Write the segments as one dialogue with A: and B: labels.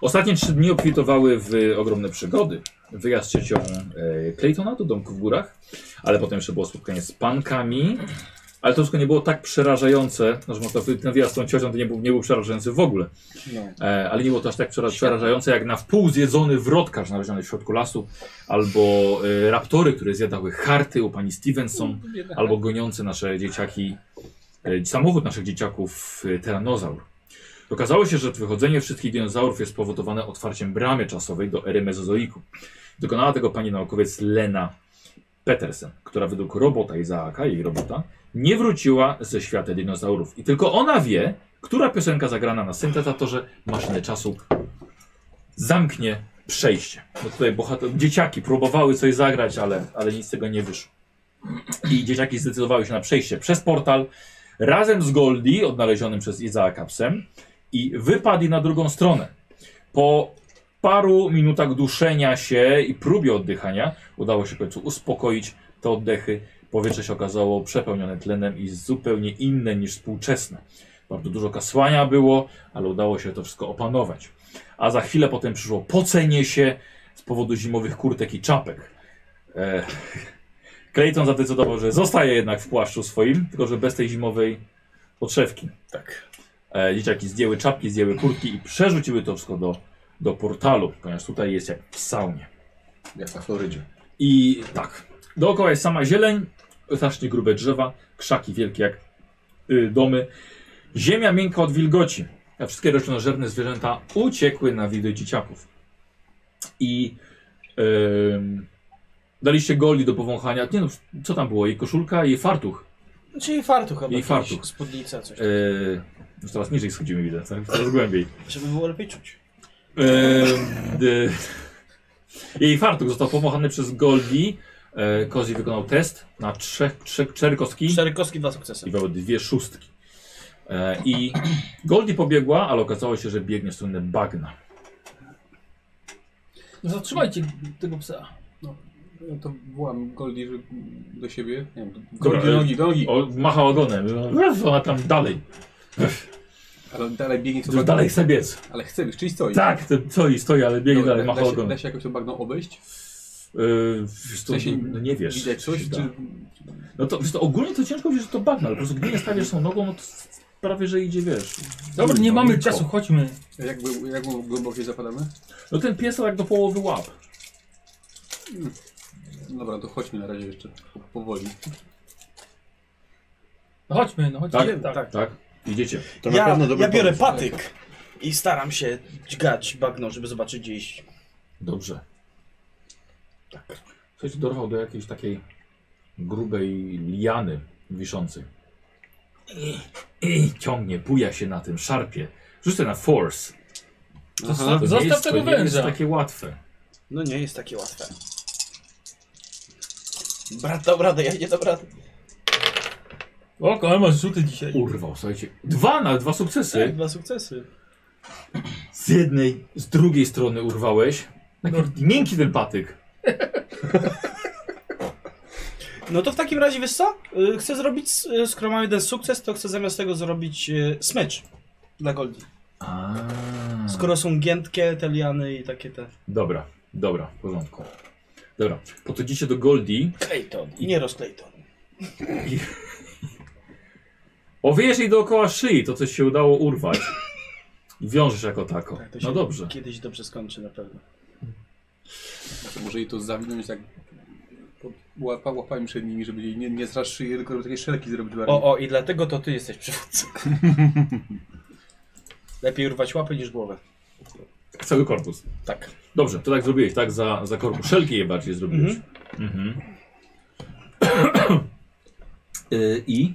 A: Ostatnie trzy dni obfitowały w ogromne przygody. Wyjazd z ciocią e, Claytona do domku w górach, ale potem jeszcze było spotkanie z pankami. Ale to wszystko nie było tak przerażające, no, że można powiedzieć, ten wyjazd z tą ciocią to nie był, nie był przerażający w ogóle.
B: No.
A: E, ale nie było to aż tak przera przerażające jak na wpół zjedzony wrotkarz znaleziony w środku lasu, albo e, raptory, które zjadały harty u pani Stevenson, albo goniące nasze dzieciaki, e, samochód naszych dzieciaków e, Teranozaur. Okazało się, że wychodzenie wszystkich dinozaurów jest spowodowane otwarciem bramy czasowej do ery mezozoiku. Dokonała tego pani naukowiec Lena Petersen, która według robota Izaaka, jej robota, nie wróciła ze świata dinozaurów. I tylko ona wie, która piosenka zagrana na syntezatorze maszynę czasu zamknie przejście. No tutaj bohater, dzieciaki próbowały coś zagrać, ale, ale nic z tego nie wyszło. I dzieciaki zdecydowały się na przejście przez portal razem z Goldie, odnalezionym przez Izaaka psem, i wypadli na drugą stronę. Po paru minutach duszenia się i próbie oddychania udało się w końcu uspokoić te oddechy. Powietrze się okazało przepełnione tlenem i zupełnie inne niż współczesne. Bardzo dużo kasłania było, ale udało się to wszystko opanować. A za chwilę potem przyszło pocenie się z powodu zimowych kurtek i czapek. E, Clayton zadecydował, że zostaje jednak w płaszczu swoim, tylko że bez tej zimowej podszewki.
C: Tak.
A: E, dzieciaki zdjęły czapki, zdjęły kurtki i przerzuciły to wszystko do, do portalu, ponieważ tutaj jest jak w saunie.
C: Jak na Florydzie.
A: I tak, dookoła jest sama zieleń, strasznie grube drzewa, krzaki wielkie jak y, domy. Ziemia miękka od wilgoci, a wszystkie roślinożerne zwierzęta uciekły na widok dzieciaków. I ym, daliście goli do powąchania. Nie no, co tam było? Jej koszulka, jej fartuch.
B: Czyli Znaczy fartuch chyba.
A: I
B: jakiś,
A: fartuch.
B: Spódnica, coś.
A: Yy, już teraz niżej schodzimy, widzę, tak? coraz głębiej.
B: Żeby było lepiej czuć.
A: Ehm, e, Jej fartuch został pomochany przez Goldi. E, Kozi wykonał test na trzech, trzech cztery kostki
B: Cztery kostki, dwa sukcesy.
A: i wybrał dwie szóstki. E, I Goldi pobiegła, ale okazało się, że biegnie w stronę bagna.
B: No
D: Zatrzymajcie tego psa.
C: No to wołam Goldie żeby do siebie. Nie wiem,
A: Dobra,
C: Goldie,
A: ale-
C: do nogi, do nogi.
A: O, macha ogonem, Uf, ona tam dalej,
C: Ale dalej biegnie co tak?
A: to dalej chce biec.
C: Ale chce biec, czyli stoi.
A: Tak, to stoi, stoi, ale biegnie
C: Dobra,
A: dalej,
C: da,
A: macha
C: da, się, da
A: ogonem.
C: się jakoś to bagno obejść?
A: Yy, to,
C: sensie
A: no nie wiesz.
C: Widać
A: czy się
C: coś?
A: da.
C: Czy...
A: No to, wiesz, to ogólnie to ciężko wiesz, że to bagna, ale po prostu gdy nie stawiasz tą nogą, no to prawie, że idzie, wiesz.
D: Dobra, nie
A: No,
D: mamy
A: nisko.
D: czasu, chodźmy.
C: Jak, głę- jak głębokie zapadamy?
A: No ten pies to tak do połowy łap.
C: Dobra, to chodźmy na razie jeszcze powoli.
D: No chodźmy, no chodźmy.
A: Tak?
D: tak.
A: Tak? Idziecie.
E: To na
B: Ja,
E: pewno dobry
B: ja biorę
E: pomysł.
B: patyk i staram się dźgać bagno, żeby zobaczyć gdzie iść.
A: Dobrze. Tak. Coś dorwał do jakiejś takiej grubej liany wiszącej. I, i ciągnie, buja się na tym, szarpie. Rzucę na force.
D: Zostaw,
A: To nie
D: zostaw
A: jest-
D: tego
A: to nie jest
D: węża.
A: takie łatwe.
B: No nie jest takie łatwe. Brat dał radę, ja nie dam rady.
D: O, ale masz rzuty dzisiaj.
A: Urwał, słuchajcie. Dwa na dwa sukcesy.
B: Tak, Dwa sukcesy.
A: Z jednej, z drugiej strony urwałeś. Taki
D: No.
A: miękki ten patyk.
B: No to w takim razie, wiesz co? Y, Chcę zrobić, s- y, skoro mam jeden sukces, to chcę zamiast tego zrobić y, smycz dla Goldi.
A: A.
B: Skoro są giętkie, te liany i takie te...
A: Dobra, dobra, w porządku. Dobra, podchodzicie do Goldie.
B: Clayton. I nie roz Clayton.
A: Owiejesz jej dookoła szyi, to coś się udało urwać. I wiążesz jako tako.
B: Tak, to się
A: No dobrze.
B: Kiedyś dobrze skończy na pewno.
C: To może jej to zawinąć tak... Łapa, łapami przed nimi, żeby jej nie, nie zraszyć szyję, tylko żeby takie szelki zrobić dla niej.
B: O, o, i dlatego to ty jesteś przywódcą. Lepiej urwać łapy niż głowę.
A: Cały korpus.
B: Tak.
A: Dobrze, to tak zrobiłeś, tak? Za, za korpus. Szelki je bardziej zrobiłeś. Mhm. Y, I?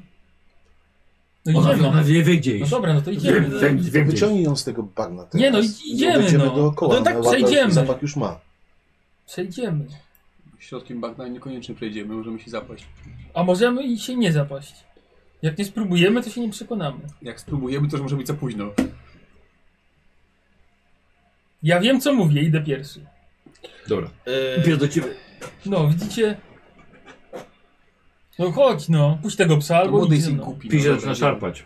D: No
A: Ona,
D: idziemy.
A: ona wie, wie gdzie
D: No
A: iść.
D: dobra, no to idziemy.
A: Wiem, wiem, wiem gdzie
E: tak Wyciągnij ją z tego bagna. Teraz.
D: Nie no, i- idziemy,
E: Będziemy
D: no.
E: dookoła.
D: No tak
E: ładny
D: przejdziemy.
E: Zapach już ma.
D: Przejdziemy.
C: Środkiem bagna niekoniecznie przejdziemy, możemy się zapaść.
D: A możemy i się nie zapaść. Jak nie spróbujemy, to się nie przekonamy.
C: Jak spróbujemy, to już może być za późno.
D: Ja wiem co mówię, idę pierwszy.
A: Dobra.
B: Yy,
A: Pies do ciebie.
D: No, widzicie? No chodź no, puść tego psa
C: To
D: albo
C: młody
D: idź
C: jest
D: ze
C: i
D: mną.
C: głupi.
A: Pies
C: no,
A: zaczyna
C: dobra,
A: szarpać.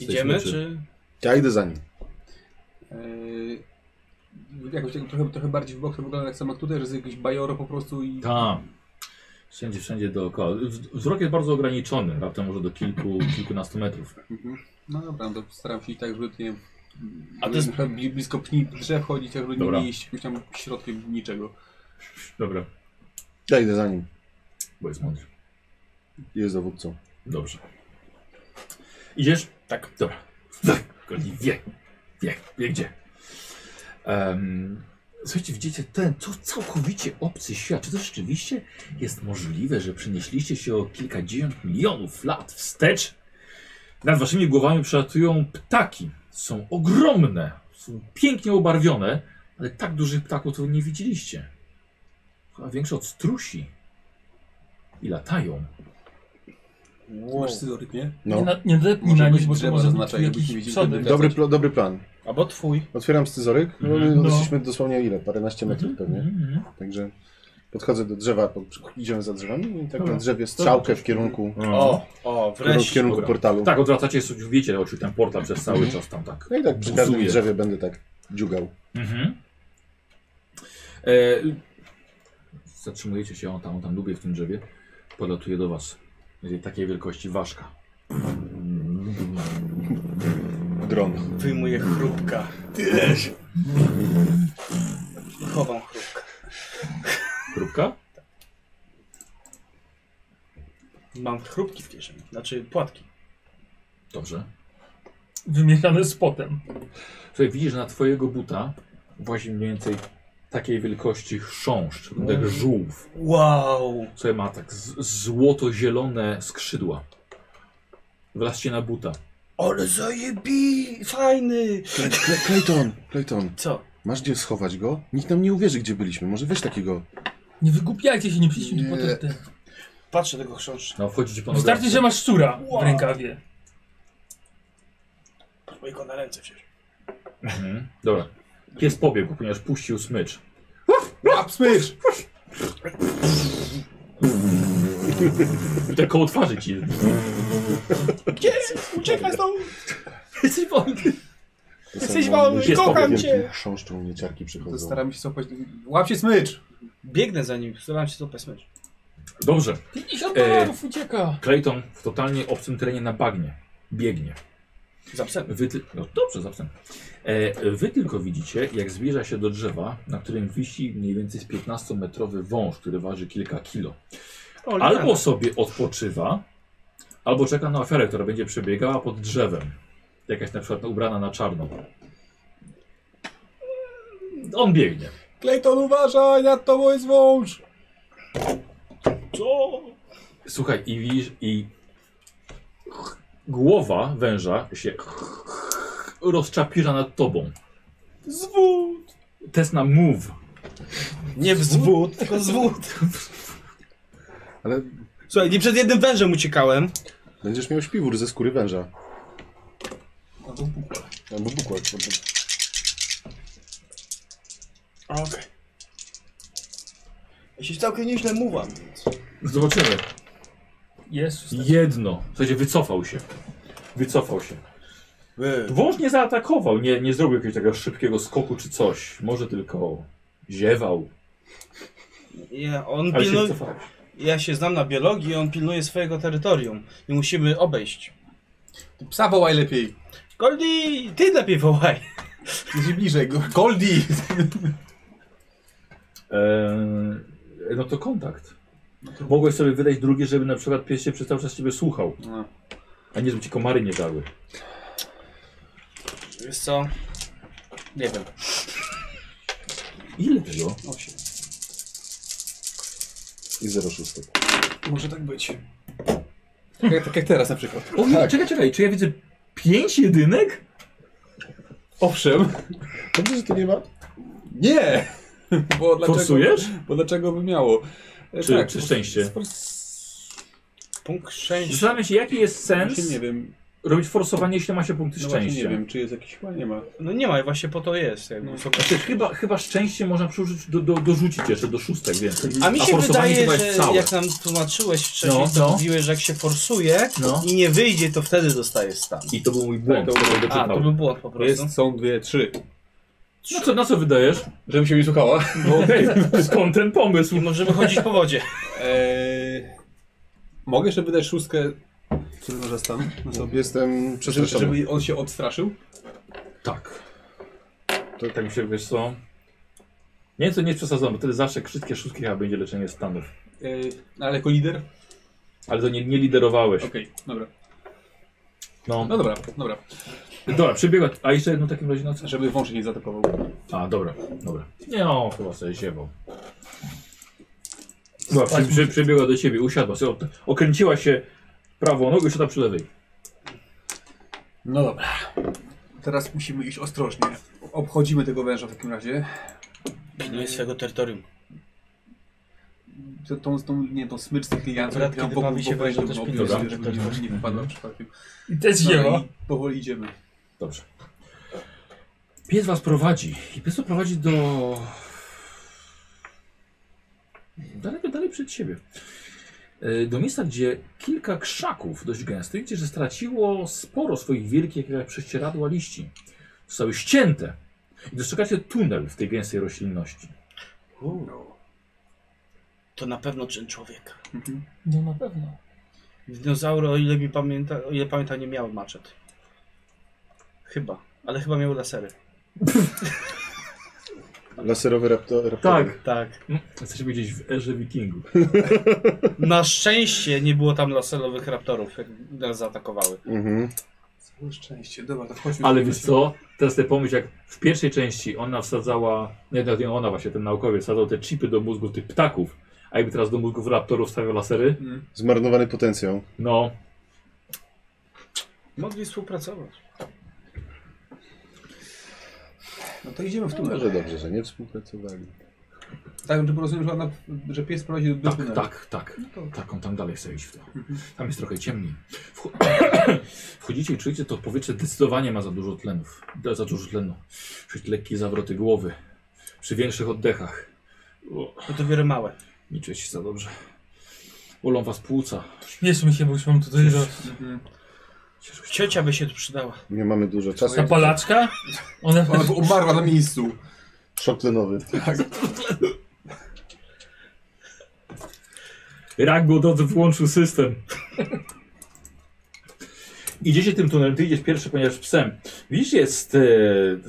B: idziemy,
A: Jesteśmy,
B: czy...
E: Ja idę za nim.
C: Eee, jakoś tak trochę, trochę bardziej w bok to wygląda jak sama tutaj, że jest jakieś bajoro po prostu i...
A: Tak. Wszędzie, wszędzie dookoła. W- Wzrok jest bardzo ograniczony, raptem może do kilku, kilkunastu metrów.
C: Mhm. No dobra, to staram się iść tak, żeby nie...
B: A
C: A
B: to
C: to
B: jest-
C: blisko pni drzew chodzić, tak żeby
A: Dobra.
C: nie iść jakimś tam środkiem niczego.
A: Dobra,
E: Ja idę za nim.
A: bo jest mądry.
E: Jest dowódcą.
A: Dobrze. Idziesz? Tak. Dobra. Tak. Goli wie. Wie. Wie gdzie. Um, słuchajcie, widzicie ten, to całkowicie obcy świat. Czy to rzeczywiście jest możliwe, że przenieśliście się o kilkadziesiąt milionów lat wstecz? Nad waszymi głowami przelatują ptaki. Są ogromne. Są pięknie obarwione, ale tak dużych ptaków to nie widzieliście. Chyba większe od strusi. I latają.
C: Masz scyzoryk, nie?
E: No.
D: Nie, na, nie nadepnij
C: Może
D: na
C: być
D: nic, bo to
C: drzewa
D: może być
C: zaznaczaj, jakbyś nie
D: jakiś
C: wiedzieli,
D: przodek.
C: kiedy-
E: Dobry, pl dobry plan.
B: Albo twój.
E: Otwieram scyzoryk.
A: Mhm.
E: No, Jesteśmy dosłownie ile? Paręnaście metrów pewnie.
A: Mhm, mhm.
E: Także podchodzę do drzewa, pod, idziemy za drzewem i tak
A: Dobra.
E: na drzewie strzałkę w kierunku,
A: No.
B: O, o,
E: w
B: wreszcie.
E: kierunku
A: Dobra.
E: portalu.
A: Tak, odwracacie się, wiecie, oczy ten portal przez cały czas tam tak.
E: No i tak przy każdym
A: buzuje.
E: drzewie będę tak dziugał.
A: Mhm. E, zatrzymujecie się, on tam, on tam dubie w tym drzewie. Podlatuje do was. Będzie takiej wielkości ważka.
E: Dron.
B: Wyjmuję chrupka. Tyleż. Chowam chrupkę.
A: Króbka?
B: Mam chrupki w kieszeni, znaczy płatki.
A: Dobrze.
D: Wymieszane z potem.
A: Słuchaj, widzisz, że na twojego buta właśnie mniej więcej takiej wielkości chrząszcz, tak
E: Mhm.
A: jak żółw.
B: Wow.
A: Słuchaj, ma tak z- złoto-zielone skrzydła. Wlazcie na buta.
B: Ale zajebi, fajny.
E: Cle- Cle- Clayton, Clayton,
B: Co?
E: masz gdzie schować go? Nikt nam nie uwierzy, gdzie byliśmy. Może weź takiego.
D: Nie wykupiajcie się, nie przyjdźcie
E: Nie.
D: tu po te- te.
B: Patrzę tego chrząszcza.
A: No, wchodzicie po
D: Wystarczy, że masz szczura
B: Wow.
D: w rękawie.
B: Próbuję go na ręce wziąć.
A: Mhm. Dobra. Pies pobiegł, ponieważ puścił smycz.
C: Łap, smycz!
A: I tak koło twarzy ci.
B: Gdzie? Uciekaj znowu.
A: Jesteś wolny.
E: To
B: Jesteś
E: są
B: mały,
E: wielkie-
A: kocham
E: wielkie
B: cię.
E: Chrząszczą nieciarki
C: To
E: przychodzą.
C: staram się złapać... Łap się smycz!
B: Biegnę za nim, staram się złapać smycz.
A: Dobrze.
D: 50
A: E.
D: dolarów ucieka.
A: Clayton w totalnie obcym terenie na bagnie. Biegnie.
B: Za psem.
A: Wy ty... No dobrze, zawsze. E, wy tylko widzicie, jak zbliża się do drzewa, na którym wisi mniej więcej z 15-metrowy wąż, który waży kilka kilo. Albo sobie odpoczywa, albo czeka na ofiarę, która będzie przebiegała pod drzewem. Jakaś na przykład ubrana na czarno. On biegnie.
C: Clayton, uważaj, nad tobą jest wąż!
B: Co?
A: Słuchaj, i widzisz, i głowa węża się rozczapira nad tobą.
B: Zwód.
A: Test na move.
B: Nie w zwód, tylko zwód.
E: Ale
B: Słuchaj, nie przed jednym wężem uciekałem.
E: będziesz miał śpiwór ze skóry węża. Albo bukłak. albo-
B: Okej. Ja się całkiem nieźle mówiłam, więc...
A: Zobaczymy.
D: Jezus.
A: Jedno. Słuchajcie, wycofał się. Wycofał się. Wąż nie zaatakował, nie, nie zrobił jakiegoś takiego szybkiego skoku czy coś. Może tylko ziewał,
B: Ja, on
A: ale się
B: pilnu...
A: wycofał.
B: ja się znam na biologii, on pilnuje swojego terytorium. I musimy obejść.
C: Psa wołaj lepiej!
B: Goldi, ty lepiej wołaj.
C: Jesteś bliżej, go- Goldie!
A: Eee, E, no to kontakt. Mogłeś sobie wydać drugie, żeby na przykład pies się przez cały czas ciebie słuchał,
C: No.
A: a nie żeby ci komary nie dały.
B: Wiesz co?
C: Nie wiem.
A: Ile tego?
C: Osiem.
E: I 06.
C: Może tak być. Tak, jak- tak jak teraz na przykład.
A: O, nie, czekaj, czekaj, czy ja widzę pięć jedynek?
C: Owszem.
E: Dobrze, że to nie ma.
C: Nie! Bo dlaczego,
A: Forsujesz?
C: Bo dlaczego by miało? E,
A: Czy- czy szczęście?
C: s- s-
B: Punkt szczęścia.
A: Zastanawiam się, jaki jest sens
C: Właśnie nie wiem.
A: robić forsowanie, jeśli ma się punkty
C: No właśnie
A: szczęścia.
C: nie wiem, czy jest jakiś chyba nie ma.
B: No nie ma, i właśnie po to jest. Jakby.
C: No.
A: Znaczy, chyba, chyba szczęście można przerzucić, do, do, dorzucić jeszcze do szóstek więcej.
B: A mi się
A: forsowanie
B: wydaje,
A: chyba jest
B: że
A: całe.
B: jak nam tłumaczyłeś wcześniej,
A: No,
B: to
A: no.
B: mówiłeś, że jak się forsuje
A: No.
B: i nie wyjdzie, to wtedy dostajesz stan.
A: I to był mój błąd,
C: Tak, to-
A: którego
B: A,
A: doczytałem.
B: to by było po prostu.
C: Jest, są dwie, trzy.
A: No co, na co wydajesz?
E: Żeby się nie słuchała.
A: No okej, skąd ten pomysł?
B: I możemy chodzić po wodzie.
C: Eee, mogę jeszcze wydać szóstkę, który może stan na sobie,
E: Jestem
C: żeby,
E: przestraszony.
C: żeby on się odstraszył?
A: Tak. To tak mi się, wiesz co? Nie, to nie przesadzam, bo wtedy zawsze wszystkie szóstki chyba będzie leczenie stanów.
C: Eee, ale jako lider?
A: Ale to nie, nie liderowałeś.
C: Okej, dobra.
A: No.
C: No dobra, dobra.
A: Dobra, przebiegła. A jeszcze jedno w takim razie na co?
C: Żeby wąż nie zaatakował.
A: A, dobra, dobra. Nie, no, chyba sobie ziewał. Dobra, przy, przy, przybiegła do ciebie, usiadła sobie, od- okręciła się prawą nogą i siada przy lewej.
C: No dobra. Teraz musimy iść ostrożnie. Obchodzimy tego węża w takim razie.
B: Pilnuję swego terytorium.
C: Tą, tą, tą, nie, tą smycz z tych lian,
B: Akurat
C: która
B: kiedy
C: wokół-
B: bawi się
C: wokół
B: wężem,
C: tego
B: też
C: obwodu,
A: pilnuję.
C: żeby nie, nie wypadła przypadkiem.
D: I też
C: Dobra,
D: ziewa.
C: No i powoli idziemy.
A: Dobrze. Pies was prowadzi i pies to prowadzi do... Daleko dalej przed siebie. E, Do miejsca, gdzie kilka krzaków dość gęstych, gdzie że straciło sporo swoich wielkich jak prześcieradła liści. Zostały ścięte. I dostrzegacie tunel w tej gęstej roślinności.
B: To na pewno czyn człowieka.
C: Mhm.
D: No na pewno.
B: Dinozaury, o ile mi pamięta, o ile pamiętam, nie miały maczet. Chyba. Ale chyba miały lasery.
E: Laserowy raptor. raptory.
A: Tak.
B: Tak.
A: Mm, Jesteśmy gdzieś w erze wikingów.
B: Na szczęście nie było tam laserowych raptorów, jak nas zaatakowały.
E: Mhm.
C: Całe szczęście, dobra, to chodźmy.
A: Ale wiesz co? Teraz sobie pomyśl, jak w pierwszej części ona wsadzała, nie, nie, nie ona właśnie, ten naukowiec, wsadzał te chipy do mózgów tych ptaków, a jakby teraz do mózgów raptorów stawiał lasery,
C: Mm.
E: Zmarnowany potencjał.
A: no,
B: Mogli współpracować.
C: No to idziemy w
E: No,
C: tunel.
E: może dobrze, że nie współpracowali.
C: Tak, żeby rozumiem, że, ona, że pies prowadzi do
A: tak,
C: tunelu.
A: tak, tak,
C: No to-
A: tak, on tam dalej chce iść w to.
C: Mhm.
A: Tam jest trochę ciemniej. Wcho- Wchodzicie i czujecie, to powietrze zdecydowanie ma za dużo tlenów, da- za dużo tlenu. Czujecie lekkie zawroty głowy, przy większych oddechach. O,
B: No to wiele małe.
A: nie czujecie się za dobrze. Bolą was płuca.
D: Śmieszmy się, bo już mam tutaj do...
C: Mhm.
B: Ciocia by się tu przydała.
E: Nie mamy dużo czasu.
D: Zapalaczka? Ona...
C: Ona tu umarła na miejscu.
E: Szok tlenowy.
A: Tak. Rak głodowy włączył system. Idziecie tym tunelem, ty idziesz pierwszy, ponieważ psem. Widzisz, jest e,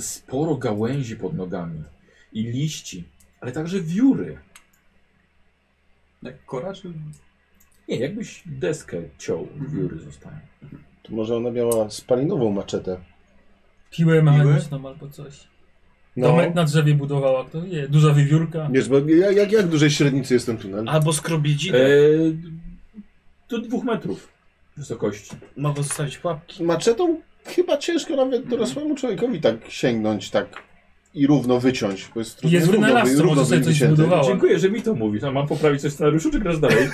A: sporo gałęzi pod nogami i liści, ale także wióry.
C: Jak kora, czy...
A: Nie, jakbyś deskę ciął, wióry zostają.
E: To może ona miała spalinową maczetę.
D: Piłę mechaniczną albo coś.
E: No.
D: Domek na drzewie budowała, kto wie, duża wiewiórka.
E: Wiesz, bo jak, jak, jak dużej średnicy no, jest ten tunel?
B: Albo skrobiedzinę.
A: E, do dwóch metrów wysokości.
B: Mogą zostawić pułapki.
E: Maczetą chyba ciężko nawet dorosłemu człowiekowi tak sięgnąć, tak i równo wyciąć, bo jest trudno
D: Jest
E: równo, wy-
D: wynalazcą,
E: równo
D: może sobie coś
E: wycięty.
D: zbudowała.
A: Dziękuję, że mi to mówisz. A mam poprawić coś w scenariuszu, czy grasz dalej?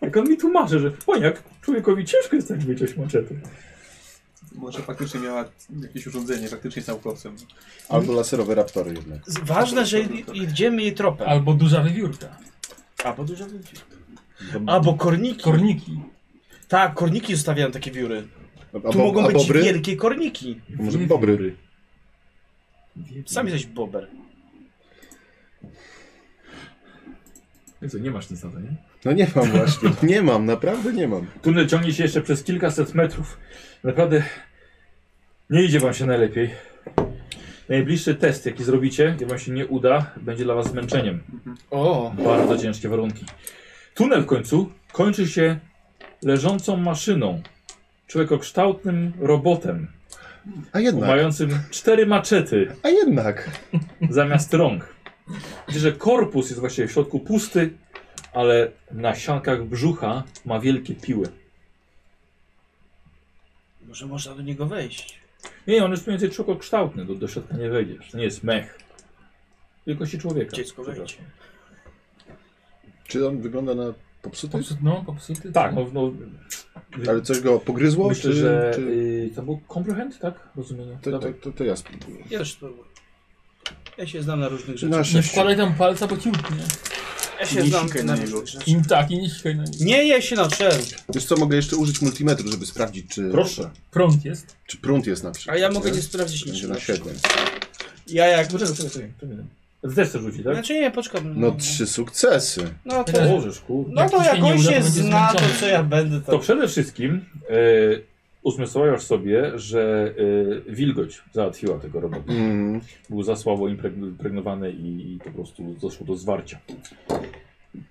A: Jak on mi tłumaczy, że poniak, człowiekowi ciężko jest tak wyciąć maczety.
C: Może faktycznie miała jakieś urządzenie, faktycznie jest naukowcem.
E: Albo laserowe raptory jednak.
B: Z- Ważne, że i- idziemy jej tropem.
D: Albo duża wiewiórka.
B: Albo dużo ludzi.
E: Albo,
B: Albo korniki.
D: Korniki.
B: Tak, korniki zostawiają takie wióry. Tu
E: albo,
B: mogą
E: a
B: być
E: bobry?
B: wielkie korniki.
E: A Może bobry.
B: Sam jesteś bober.
A: No co, nie masz nic na to, nie?
E: No nie mam właśnie. Nie mam, naprawdę nie mam.
A: Tunel ciągnie się jeszcze przez kilkaset metrów. Naprawdę nie idzie wam się najlepiej. Najbliższy test, jaki zrobicie, gdy wam się nie uda, będzie dla was zmęczeniem.
B: O.
A: Bardzo ciężkie warunki. Tunel w końcu kończy się leżącą maszyną. Człowiekokształtnym robotem,
E: A jednak,
A: mającym cztery maczety
E: a jednak.
A: zamiast rąk. Widzisz, że korpus jest właściwie w środku pusty, ale na siankach brzucha ma wielkie piły.
B: Może można do niego wejść.
A: Nie, on jest mniej więcej człowiekokształtny, do, do środka nie wejdziesz. To nie jest mech. Wielkości człowieka.
B: Dziecko wejdź.
E: Czy on wygląda na popsuty?
D: Popsut, no, popsuty.
A: Tak, no, no wy-
E: Ale coś go pogryzło?
A: myślę,
E: czy,
A: że
E: czy...
A: y, to był comprehend, tak? Rozumienie.
E: To, to,
A: Dawaj.
E: to, to ja spróbuję.
B: Ja też spróbuję. Ja się znam na różnych rzeczach.
E: Na
D: Nie
E: sześciu.
D: wkładaj tam palca, bo ci utnie.
B: No, Ja się
C: Nie
B: znam
C: sikaj
B: na
C: na niego.
B: różnych rzeczach.
D: Im tak, i nie sikaj na nic.
B: Nie, ja się nauczyłem.
E: Wiesz co, mogę jeszcze użyć multimetru, żeby sprawdzić, czy,
A: Proszę.
D: Prąd jest.
E: czy prąd jest na przykład.
B: A ja mogę
E: nie?
B: cię sprawdzić
E: Będzie
B: niczym.
E: na 7.
B: Ja jak...
A: Poczekaj, poczekaj, poczekaj. to minę. Też chcesz rzucić, tak?
B: Znaczy nie, poczekam.
E: No trzy sukcesy.
B: No to...
D: Znaczy-
A: Możesz, kurde.
B: No to
D: Jak ci się
B: jak
D: nie
B: on
D: uda, to
B: się
D: będzie
B: zna, to
D: zmęczony.
B: co ja będę
A: To
E: tak.
B: to...
A: przede wszystkim e, uzmysławiasz sobie, że e, wilgoć załatwiła tego robota.
E: Mm.
A: Był za słabo impregnowany i, i po prostu doszło do zwarcia.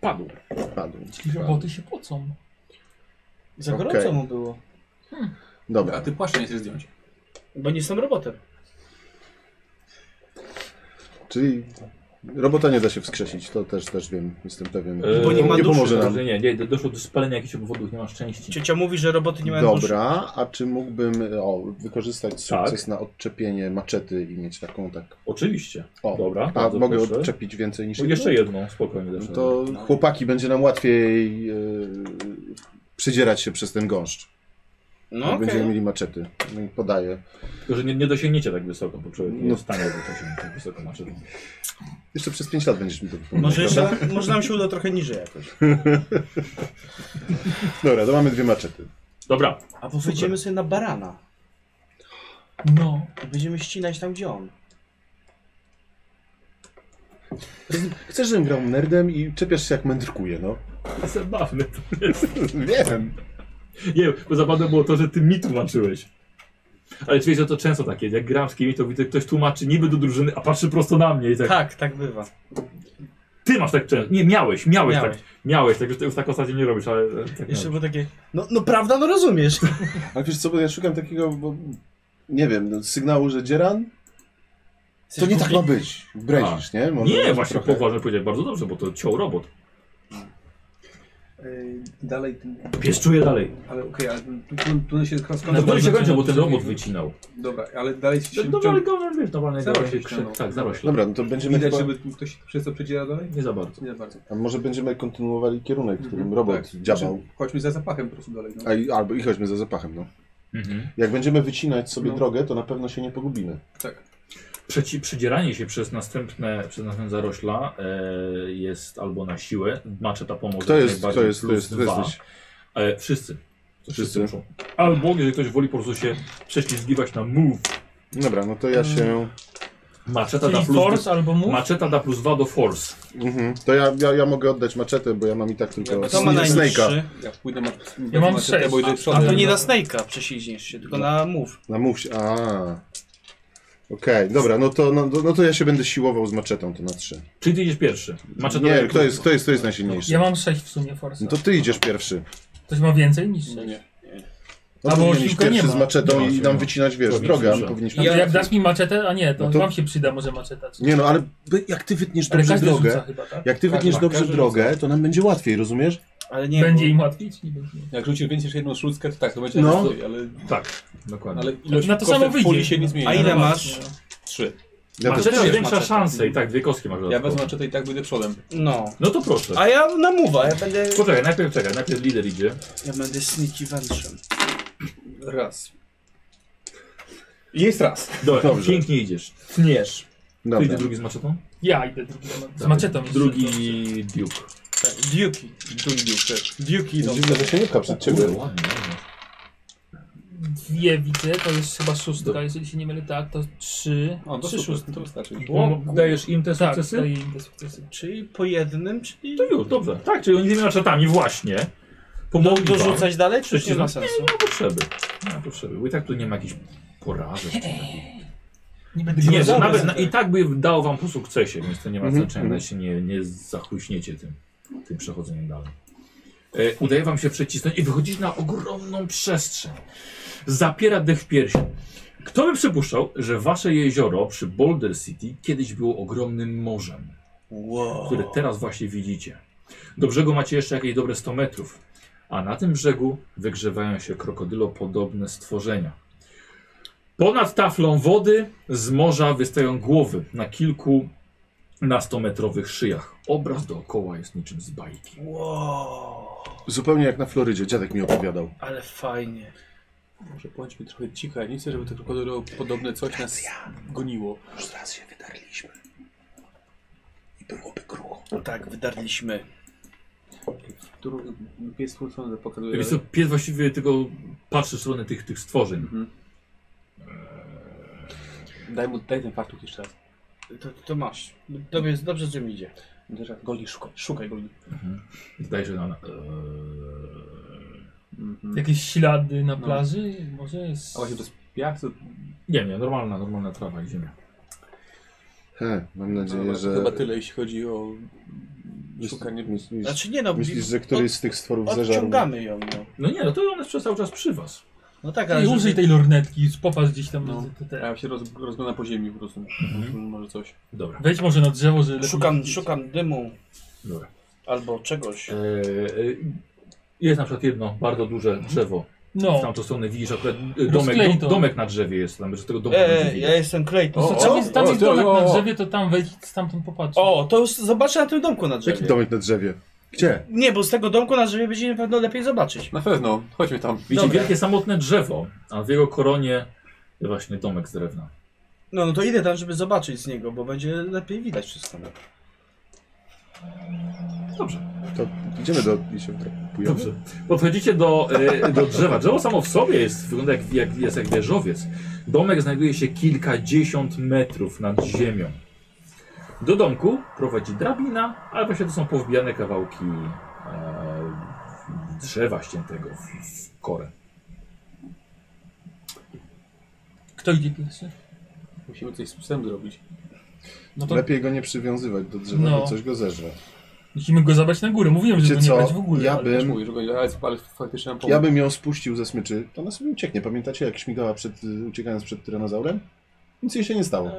A: Padł.
E: Padł.
D: Czyli roboty się pocą.
B: Za gorąco
E: Okej.
B: mu było.
C: A
E: Dobra.
C: ty płaszcza nie chcesz zdjąć.
B: Bo nie jestem robotem.
E: Czyli robota nie da się wskrzesić, to też też wiem, jestem pewien.
A: E,
B: Bo nie ma duszy,
E: pomoże nam.
A: Może nie, nie, doszło do spalenia jakichś obwodów, nie ma szczęści.
B: Ciocia mówi, że roboty nie mają duszy.
E: Dobra, a czy mógłbym o, wykorzystać
A: Tak.
E: sukces na odczepienie maczety i mieć taką tak.
A: Oczywiście.
E: O,
A: Dobra,
E: a
A: Tak, bardzo
E: mogę
A: proszę.
E: odczepić więcej niż
A: No, Jeszcze jedną, spokojnie.
E: No
A: Jeszcze
E: To chłopaki będzie nam łatwiej e, przedzierać się przez ten gąszcz.
B: No okej.
E: Będziemy mieli maczety. No i Podaję.
A: Tylko, że nie, nie dosięgniecie tak wysoko, bo człowiek nie
E: No.
A: jest w stanie dosięgnąć tak wysoko maszyny.
E: Jeszcze przez 5 lat będziesz mi to wypominał.
B: Może,
E: prawda?
B: jeszcze, może nam się uda trochę niżej jakoś.
E: Dobra, to mamy dwie maczety.
A: Dobra,
B: A bo wyjdziemy sobie na barana.
D: No.
B: I będziemy ścinać tam, gdzie on.
E: Chcesz, żebym grał nerdem i czepiasz się jak mędrkuje, no.
A: zabawne to jest.
E: Wiem.
A: Nie, bo zabawne było to, że ty mi tłumaczyłeś. Ale wiecie, to często takie, jak gram z kimś, to widzę, ktoś tłumaczy niby do drużyny, a patrzy prosto na mnie i tak,
B: Tak, tak bywa.
A: ty masz tak często, nie, miałeś, miałeś,
B: Miałeś.
A: tak, miałeś, tak, już, już tak ostatnio nie robisz, ale e, tak
B: Jeszcze
A: miałeś.
B: było takie, no, no prawda, no rozumiesz.
E: Ale wiesz co, bo ja szukam takiego, bo nie wiem, no, sygnału, że dzieran, to nie tak ma być. Brezisz, nie? Może-
A: Nie,
E: może
A: właśnie
E: trochę.
A: poważnie powiedziałem, bardzo dobrze, bo to ciął robot.
C: Yy, dalej, ten-
A: Pies czuje dalej.
C: ale okej, ale tu, tu, tu się
A: Na No to
C: rozkrążę.
A: się kończy, bo ten robot wycinał.
C: Dobra, ale dalej się
A: No, ale go, wiesz, normalnie
C: Zarośle
A: dalej się
C: ściągnął.
A: krzyk, tak, zarośle.
E: Dobra, no to będziemy
C: Widać,
E: chyba...
C: żeby tu ktoś przez to przedziela dalej?
A: Nie za bardzo.
C: Nie za bardzo.
E: A może będziemy kontynuowali kierunek, w którym
C: Mhm,
E: robot
C: tak.
E: działał.
C: Znaczy, Chodźmy za zapachem po prostu dalej. No.
E: A, i- albo i chodźmy za zapachem, no.
A: Mhm.
E: Jak będziemy wycinać sobie
C: No.
E: drogę, to na pewno się nie pogubimy.
C: Tak.
A: Przeci przydzieranie się przez następne, przez następne zarośla e, jest albo na siłę, maczeta pomoże.
E: Kto
A: jak
E: jest,
A: najbardziej,
E: kto jest, kto
A: plus
E: jest, kto jest,
A: dwa.
E: jest
A: E, wszyscy.
E: Wszyscy.
A: Wszyscy muszą. Albo jeżeli ktoś woli po prostu się prześlizgiwać na move,
E: Dobra, no to ja się...
A: maczeta da
D: Czyli
A: plus,
D: force albo move.
A: maczeta da plus 2 do force.
E: Mhm. To ja, ja, ja mogę oddać maczetę, bo ja mam i tak tylko
C: Ja-
B: To ma
E: sn- snake'a.
B: najniższy.
C: Ja pójdę na
D: Ja mam
C: maczetę,
D: sześć.
C: bo idę
D: A-
B: A
C: przodem.
B: to nie na Snake'a prześlizgniesz się,
E: No.
B: tylko na move.
E: Na musi. A. Okej, dobra, no to, no, no to ja się będę siłował z maczetą, to na trzy.
A: Czyli ty idziesz pierwszy. Maczeta
E: Nie,
A: daje
E: kto
A: plus
E: jest, kto jest, kto jest najsilniejszy?
D: Ja mam 6 w sumie force.
E: No to ty idziesz pierwszy.
D: Ktoś ma więcej niż 6.
C: Nie, nie.
E: No
D: A
E: to
D: bo
E: powinieneś
D: siłka
E: pierwszy
D: nie
E: z
D: ma.
E: maczetą
A: Nie ma
E: i
A: siłki.
E: nam wycinać, wiesz,
A: Człowiek
E: drogę, a my
A: słyszał.
E: powinniśmy...
D: No to jak dasz mi maczetę, a nie, to,
E: No to-
D: wam się przyda może maczeta. czy-
E: Nie no, ale by- jak ty wytniesz
D: Ale
E: dobrze
D: każdy rzuca
E: drogę,
D: chyba, tak?
E: jak ty
C: Tak,
E: wytniesz
C: tak,
E: dobrze
C: każdy
E: drogę, to nam będzie łatwiej, rozumiesz?
B: Ale nie,
D: Będzie
B: bo-
D: im łatwiej, czy nie będzie?
C: Jak rzucisz więcej niż jedną szóstkę, to tak, to będzie
E: No.
C: no. ale,
A: Tak, dokładnie.
C: ale ilość
D: Na to
C: kostek
D: samo
C: w puli
D: wyjdzie.
C: się nie No zmieni.
B: A ile
C: Ja mam
B: masz?
C: Trzy.
E: Ja też.
A: maczeta
C: też
A: zwiększa
C: maczetę.
A: szansę i tak dwie kostki masz
C: Ja
A: dodatkowo.
C: wezmę maczetę i tak będę przodem.
B: No.
A: No to proszę.
B: A ja na move'a, ja będę...
A: Poczekaj, najpierw czekaj, najpierw lider idzie.
B: Ja będę sneaky wędrzem.
C: Raz. Jest raz.
A: Dobra,
E: Dobrze.
A: pięknie idziesz. Tniesz. Ty
E: Dobra.
A: idzie drugi z maczetą?
D: Ja idę drugi. Z maczetą jeszcze.
A: Tak, Drugi Duke.
B: Tak, Duki.
C: Drugi dziób też.
B: Duki idą.
E: Dziwne, że się nie pcha przed ciebie.
A: Kurde, ładnie, ładnie.
D: Dwie widzę, to jest chyba szóstka,
A: Do-
D: jeżeli się nie mylę, tak, to trzy,
C: O, to
D: trzy
C: super,
D: szóstki.
C: to wystarczy.
A: Bo dajesz im te
D: Tak,
A: sukcesy?
D: daję im te sukcesy.
B: Czyli po jednym, czyli...
A: To już, dobrze. Tak, czyli oni tymi maczetami właśnie pomogli wam.
B: Dorzucać dalej, czy już nie
A: Przecież
B: ma sensu?
A: Nie ma potrzeby. Nie ma potrzeby. Bo i tak tu nie ma jakichś porażek. czy takich-
D: Nie będę
A: Nie,
D: komentował.
A: to nawet na, i tak by dał wam po sukcesie, więc to nie ma
E: Mhm,
A: znaczenia,
E: mhm.
A: nawet się nie, nie zachuśniecie tym, tym przechodzeniem dalej. E, udaje wam się przecisnąć i wychodzić na ogromną przestrzeń. Zapiera dech w piersi. Kto by przypuszczał, że wasze jezioro przy Boulder City kiedyś było ogromnym morzem?
B: Wow.
A: które teraz właśnie widzicie. Do brzegu macie jeszcze jakieś dobre 100 metrów, a na tym brzegu wygrzewają się krokodylopodobne stworzenia. Ponad taflą wody z morza wystają głowy na kilku nastometrowych szyjach. Obraz dookoła jest niczym z bajki.
B: Wow.
E: Zupełnie jak na Florydzie, dziadek mi opowiadał.
B: Ale fajnie.
C: Może bądźmy trochę cicha, nie chcę, żeby to krokodylo podobne coś nas goniło.
E: Już raz się wydarliśmy. I byłoby krucho.
B: Tak, wydarliśmy.
C: W Dru- pies twórcą pokazuje...
A: Wiesz co, pies właściwie tylko patrzy w stronę tych, tych stworzeń.
C: Mhm. Daj mu, daj ten fartuch jeszcze raz.
B: To, to masz. Dobrze, dobrze, że mi idzie.
C: Dobrze, Goli, szukaj, szukaj goli.
A: Wydaje się, że ona... e,
C: Mhm.
D: Jakieś ślady na
C: No.
D: plaży? Może jest...
C: A właśnie to jest piach, to...
A: Nie, nie, normalna, normalna trawa i ziemia.
E: He, mam nadzieję,
C: Dobra,
E: że...
C: Chyba tyle, jeśli chodzi o szukanie...
E: Myślisz,
B: Znaczy nie no,
E: myślisz że któryś z tych stworów
B: od,
E: zażarł?
B: odciągamy ją. No,
A: No nie, no to ona jest przez cały czas przy was.
B: no tak, ale
D: Ej, użyj
B: żeby,
D: tej lornetki, popatrz gdzieś tam.
C: No.
D: No. Te, te.
C: Ja się roz, rozglądam po ziemi po prostu. Może coś.
A: Dobra,
D: Wejdź może na drzewo, żeby lepiej
B: szukam,
D: widzieć.
B: szukam dymu
A: dobra.
B: albo czegoś.
A: E, e, jest na przykład jedno bardzo duże drzewo. W
D: No,
A: tamtą stronę widzisz akurat e, domek,
D: Rozklej
A: dom,
D: to.
A: domek na drzewie jest tam, że tego domku będzie
B: Ej,
A: widać.
B: E, ja jestem Clayton.
D: o,
B: O,
E: o,
D: tam jest, tam
C: o,
D: jest
C: ty,
D: domek
C: o,
D: na
C: o.
D: drzewie, to tam wejdź, stamtąd popatrz.
B: to już zobaczę na tym domku na
E: Jaki
B: drzewie.
E: domek na drzewie? Gdzie?
B: Nie, bo z tego domku na drzewie będzie na pewno lepiej zobaczyć.
C: Na pewno, chodźmy tam.
A: Widzicie
B: Dobra.
A: wielkie samotne drzewo, a w jego koronie właśnie domek z drewna.
B: No, no to idę tam, żeby zobaczyć z niego, bo będzie lepiej widać wszystko.
A: Dobrze,
E: To idziemy do... i się wdrapujemy?
A: dobrze. Podchodzicie do, e, do drzewa. Drzewo samo w sobie jest, wygląda jak, jak, jest jak wieżowiec. Domek znajduje się kilkadziesiąt metrów nad ziemią. Do domku prowadzi drabina, ale właśnie to są powbijane kawałki e, drzewa ściętego w, w korę.
D: Kto idzie pierwszy?
C: Musimy coś z psem zrobić.
D: No to
E: Lepiej go nie przywiązywać do drzewa,
D: No.
E: bo coś go zeżre.
D: musimy go zabrać na górę. Mówiłem, że
E: Wiecie
D: go nie brać
E: co?
D: w ogóle.
E: Ja
D: ale-
C: Też
E: bym...
C: mówisz, że go- ale, ale faktycznie nam pomógł.
E: Ja bym ją spuścił ze smyczy, to ona sobie ucieknie. Pamiętacie jak śmigała przed, y, uciekając przed tyranozaurem? Nic jej się nie stało.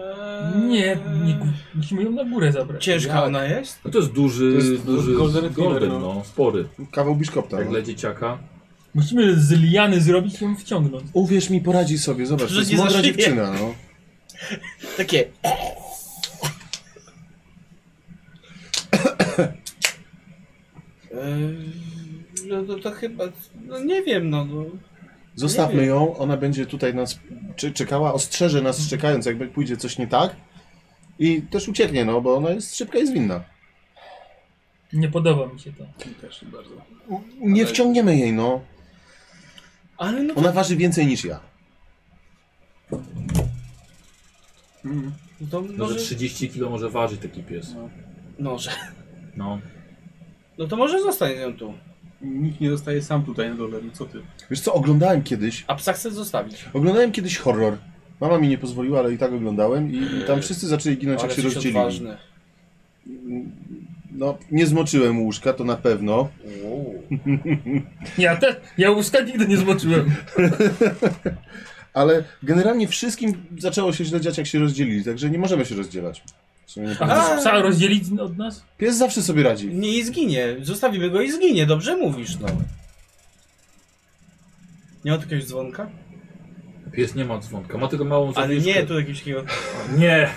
D: Nie, nie, musimy ją na górę zabrać.
B: Ciężka
C: Ja-
B: ona jest?
A: No to jest duży,
E: To jest
A: duży
C: golden
A: golden,
C: retriever, no.
A: no, spory,
E: Kawał biszkopta.
A: jak
E: No.
A: dla dzieciaka.
D: Musimy z liany zrobić i ją wciągnąć.
E: Uwierz mi, poradzi sobie, zobacz,
B: Że
E: to jest
B: nie
E: mądra
B: zaszyje.
E: dziewczyna, no.
B: Takie. Eee, No to, to chyba, no nie wiem, no. no. Nie
E: Zostawmy
B: wiem.
E: ją, ona będzie tutaj nas cze- czekała, ostrzeże nas czekając, jakby pójdzie coś nie tak. I też ucieknie, no, bo ona jest szybka i zwinna.
D: Nie podoba mi się to.
C: Też bardzo.
E: Nie
C: Ale-
E: wciągniemy jej, no.
B: Ale no,
E: Ona waży więcej niż ja.
C: Mhm.
B: to
A: Może
B: może,
A: 30 kg może ważyć taki pies.
B: może.
A: No.
B: No to może zostanie ją tu.
C: Nikt nie zostaje sam tutaj na dole, no co ty?
E: Wiesz co, oglądałem kiedyś,
B: A psa chcę zostawić.
E: oglądałem kiedyś horror. Mama mi nie pozwoliła, ale i tak oglądałem i i tam wszyscy zaczęli ginąć, jak
B: Ale
E: się
B: jesteś
E: rozdzielili.
B: odważny.
E: No, nie zmoczyłem łóżka, to na pewno.
D: Ja też, ja łuska nigdy nie zobaczyłem.
E: Ale generalnie wszystkim zaczęło się źle dziać, jak się rozdzielili, także nie możemy się rozdzielać. W sumie nie
D: A
E: powinno-
D: chcesz psa rozdzielić od nas?
E: Pies zawsze sobie radzi.
B: Nie i zginie. Zostawimy go i zginie, dobrze mówisz, no. Nie ma tu jakiegoś dzwonka?
A: Pies nie ma dzwonka, ma tylko małą
B: Ale
A: zawieszkę.
B: nie, tu jakiegoś takiego...
A: Nie!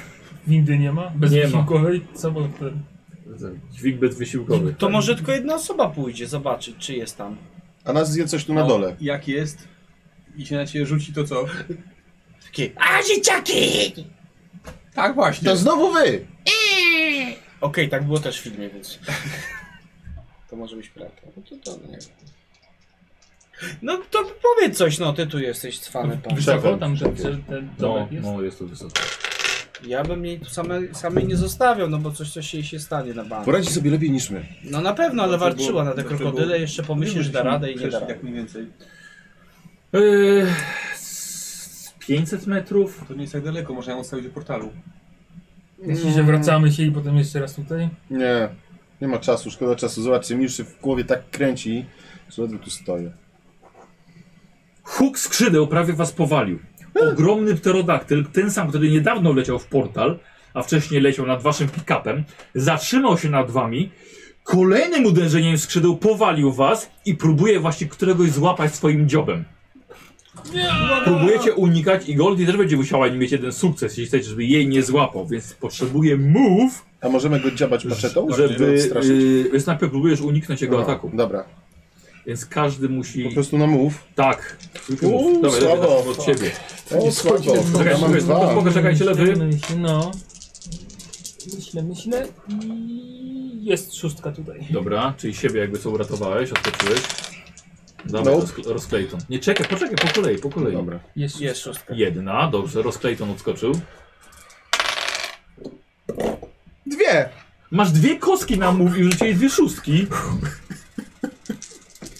D: Windy nie ma? Bez
A: Nie ma.
D: wysiłkowej? Samolot ten.
A: Dźwig bezwysiłkowy.
B: To może tylko jedna osoba pójdzie zobaczyć, czy jest tam.
E: A nas zje coś tu na dole.
C: Jak jest i się na ciebie rzuci, to co?
B: Takie, a dzieciaki! Okej,
C: Tak właśnie.
E: To znowu wy!
B: tak było też w filmie, więc... to może być prawda. No to, to no nie wiem. No to powiedz coś, no ty tu jesteś cwany pan.
D: Wysoko
E: Szefem,
D: tam ten,
E: szefie.
D: ten, ten
A: No,
D: domek jest?
A: no jest to wysoko.
B: Ja bym jej tu same, samej nie zostawiał, no bo coś, coś jej się stanie na bank.
E: Poradzi sobie lepiej niż my.
B: No na pewno, ale
C: Dlaczego-
B: walczyła na te
C: dlaczego-
B: krokodyle, jeszcze pomyślisz, że da radę i nie da rady.
C: Jak mniej więcej.
A: Yy, z 500 metrów?
C: To nie jest tak daleko, można ją ustawić w portalu.
D: Myślisz, że wracamy się i potem jeszcze raz tutaj?
E: Nie, nie ma czasu, szkoda czasu. Zobaczcie, mi już się w głowie tak kręci, że ledwo tu stoję.
A: Huk skrzydeł prawie was powalił. Ogromny pterodaktyl, ten sam, który niedawno leciał w portal, a wcześniej leciał nad waszym pick-upem, zatrzymał się nad wami, kolejnym uderzeniem skrzydeł powalił was i próbuje właśnie któregoś złapać swoim dziobem. Próbujecie unikać i Goldie też będzie musiała mieć jeden sukces, jeśli chcecie, żeby jej nie złapał, więc potrzebuje move,
E: A możemy go dziabać maczetą?
A: żeby...
E: odstraszyć?
A: Yy, więc najpierw próbujesz uniknąć jego
E: No,
A: ataku,
E: Dobra,
A: więc każdy musi...
E: po prostu namów.
A: Tak.
E: Uuu,
A: Dobra, lewy
E: słabo.
A: zacznijmy od ciebie.
E: O, słabo.
A: Czekaj,
E: Ja mam
A: czekaj,
E: dwa.
A: Pokaż, czekajcie, lewy.
D: No. Myślę, myślę i jest szóstka tutaj.
A: Dobra, czyli siebie jakby co uratowałeś, odskoczyłeś. Dawaj,
E: Nope.
A: rozk- rozklejton. Nie czekaj, poczekaj, po kolei, po kolei.
E: Dobra.
D: Jest,
B: Jest szóstka.
A: Jedna, dobrze, rozklejton odskoczył.
E: Dwie!
A: Masz dwie kostki nam mówił, że cię dwie szóstki.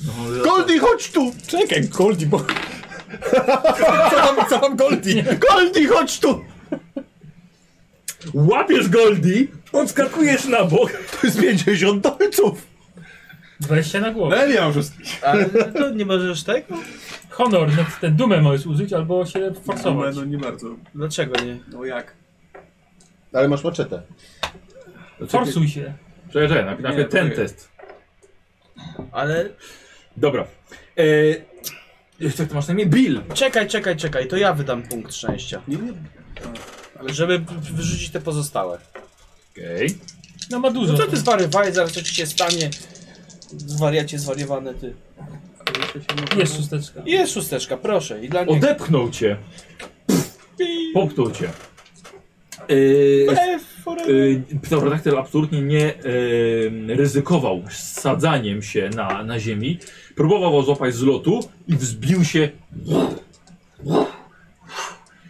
A: No,
E: Goldi, chodź tu!
F: Czekaj, Goldi, bo... co, tam, co tam Goldi?
E: Goldi, chodź tu!
A: Łapiesz Goldi, odskakujesz na bok.
E: To jest 50 dolców!
D: 20 na głowę.
C: Ale nie mam szóstki.
B: Ale to nie możesz tego?
D: Honor, no ten dumę możesz użyć albo się
C: No,
D: forsować.
C: no nie bardzo.
B: Dlaczego nie?
C: No jak?
E: Ale masz maczetę.
D: Forsuj się.
A: Czekaj, czekaj, najpierw najpierw ten
C: poczekaj.
A: test.
B: Ale
A: Dobra. Eee, jak to masz na imię? Bill.
B: czekaj, czekaj, czekaj, to ja wydam punkt szczęścia.
C: Nie, nie.
B: Żeby w- wyrzucić te pozostałe.
A: Okej.
D: No ma dużo.
B: No co ty zwariowałeś, zaraz coś ci się stanie. Zwariacie zwariowany ty.
D: Jest szósteczka.
B: I Jest szósteczka, proszę. I dla niego.
A: Odepchnął cię. Popchnął cię. Eee,
B: E,
A: Yy, Pterodaktyl absolutnie nie yy, ryzykował sadzaniem się na, na ziemi. Próbował złapać z lotu i wzbił się.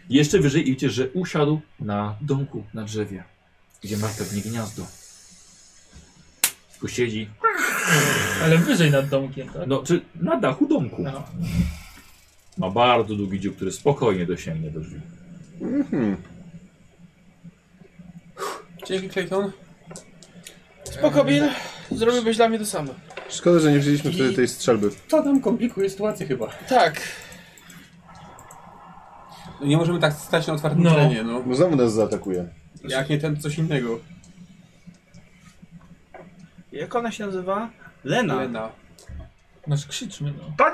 A: Jeszcze wyżej i widzicie, że usiadł na domku, na drzewie, gdzie ma pewnie gniazdo. Tu siedzi.
D: Ale wyżej nad domkiem, tak?
A: No, czy na dachu domku.
D: No.
A: Ma bardzo długi dziób, który spokojnie dosięgnie do drzwi.
C: Dzięki Clayton.
B: Spoko, Bill. Zrobiłbyś dla mnie to samo.
E: Szkoda, że nie wzięliśmy wtedy tej strzelby.
F: To nam komplikuje sytuację chyba.
B: Tak.
C: No nie możemy tak stać na otwartym
D: No.
C: terenie, no.
E: Bo znowu nas zaatakuje.
C: Jak nie ten, to coś innego.
B: Jak ona się nazywa? Lena.
C: Lena.
D: Masz krzyczmy, no.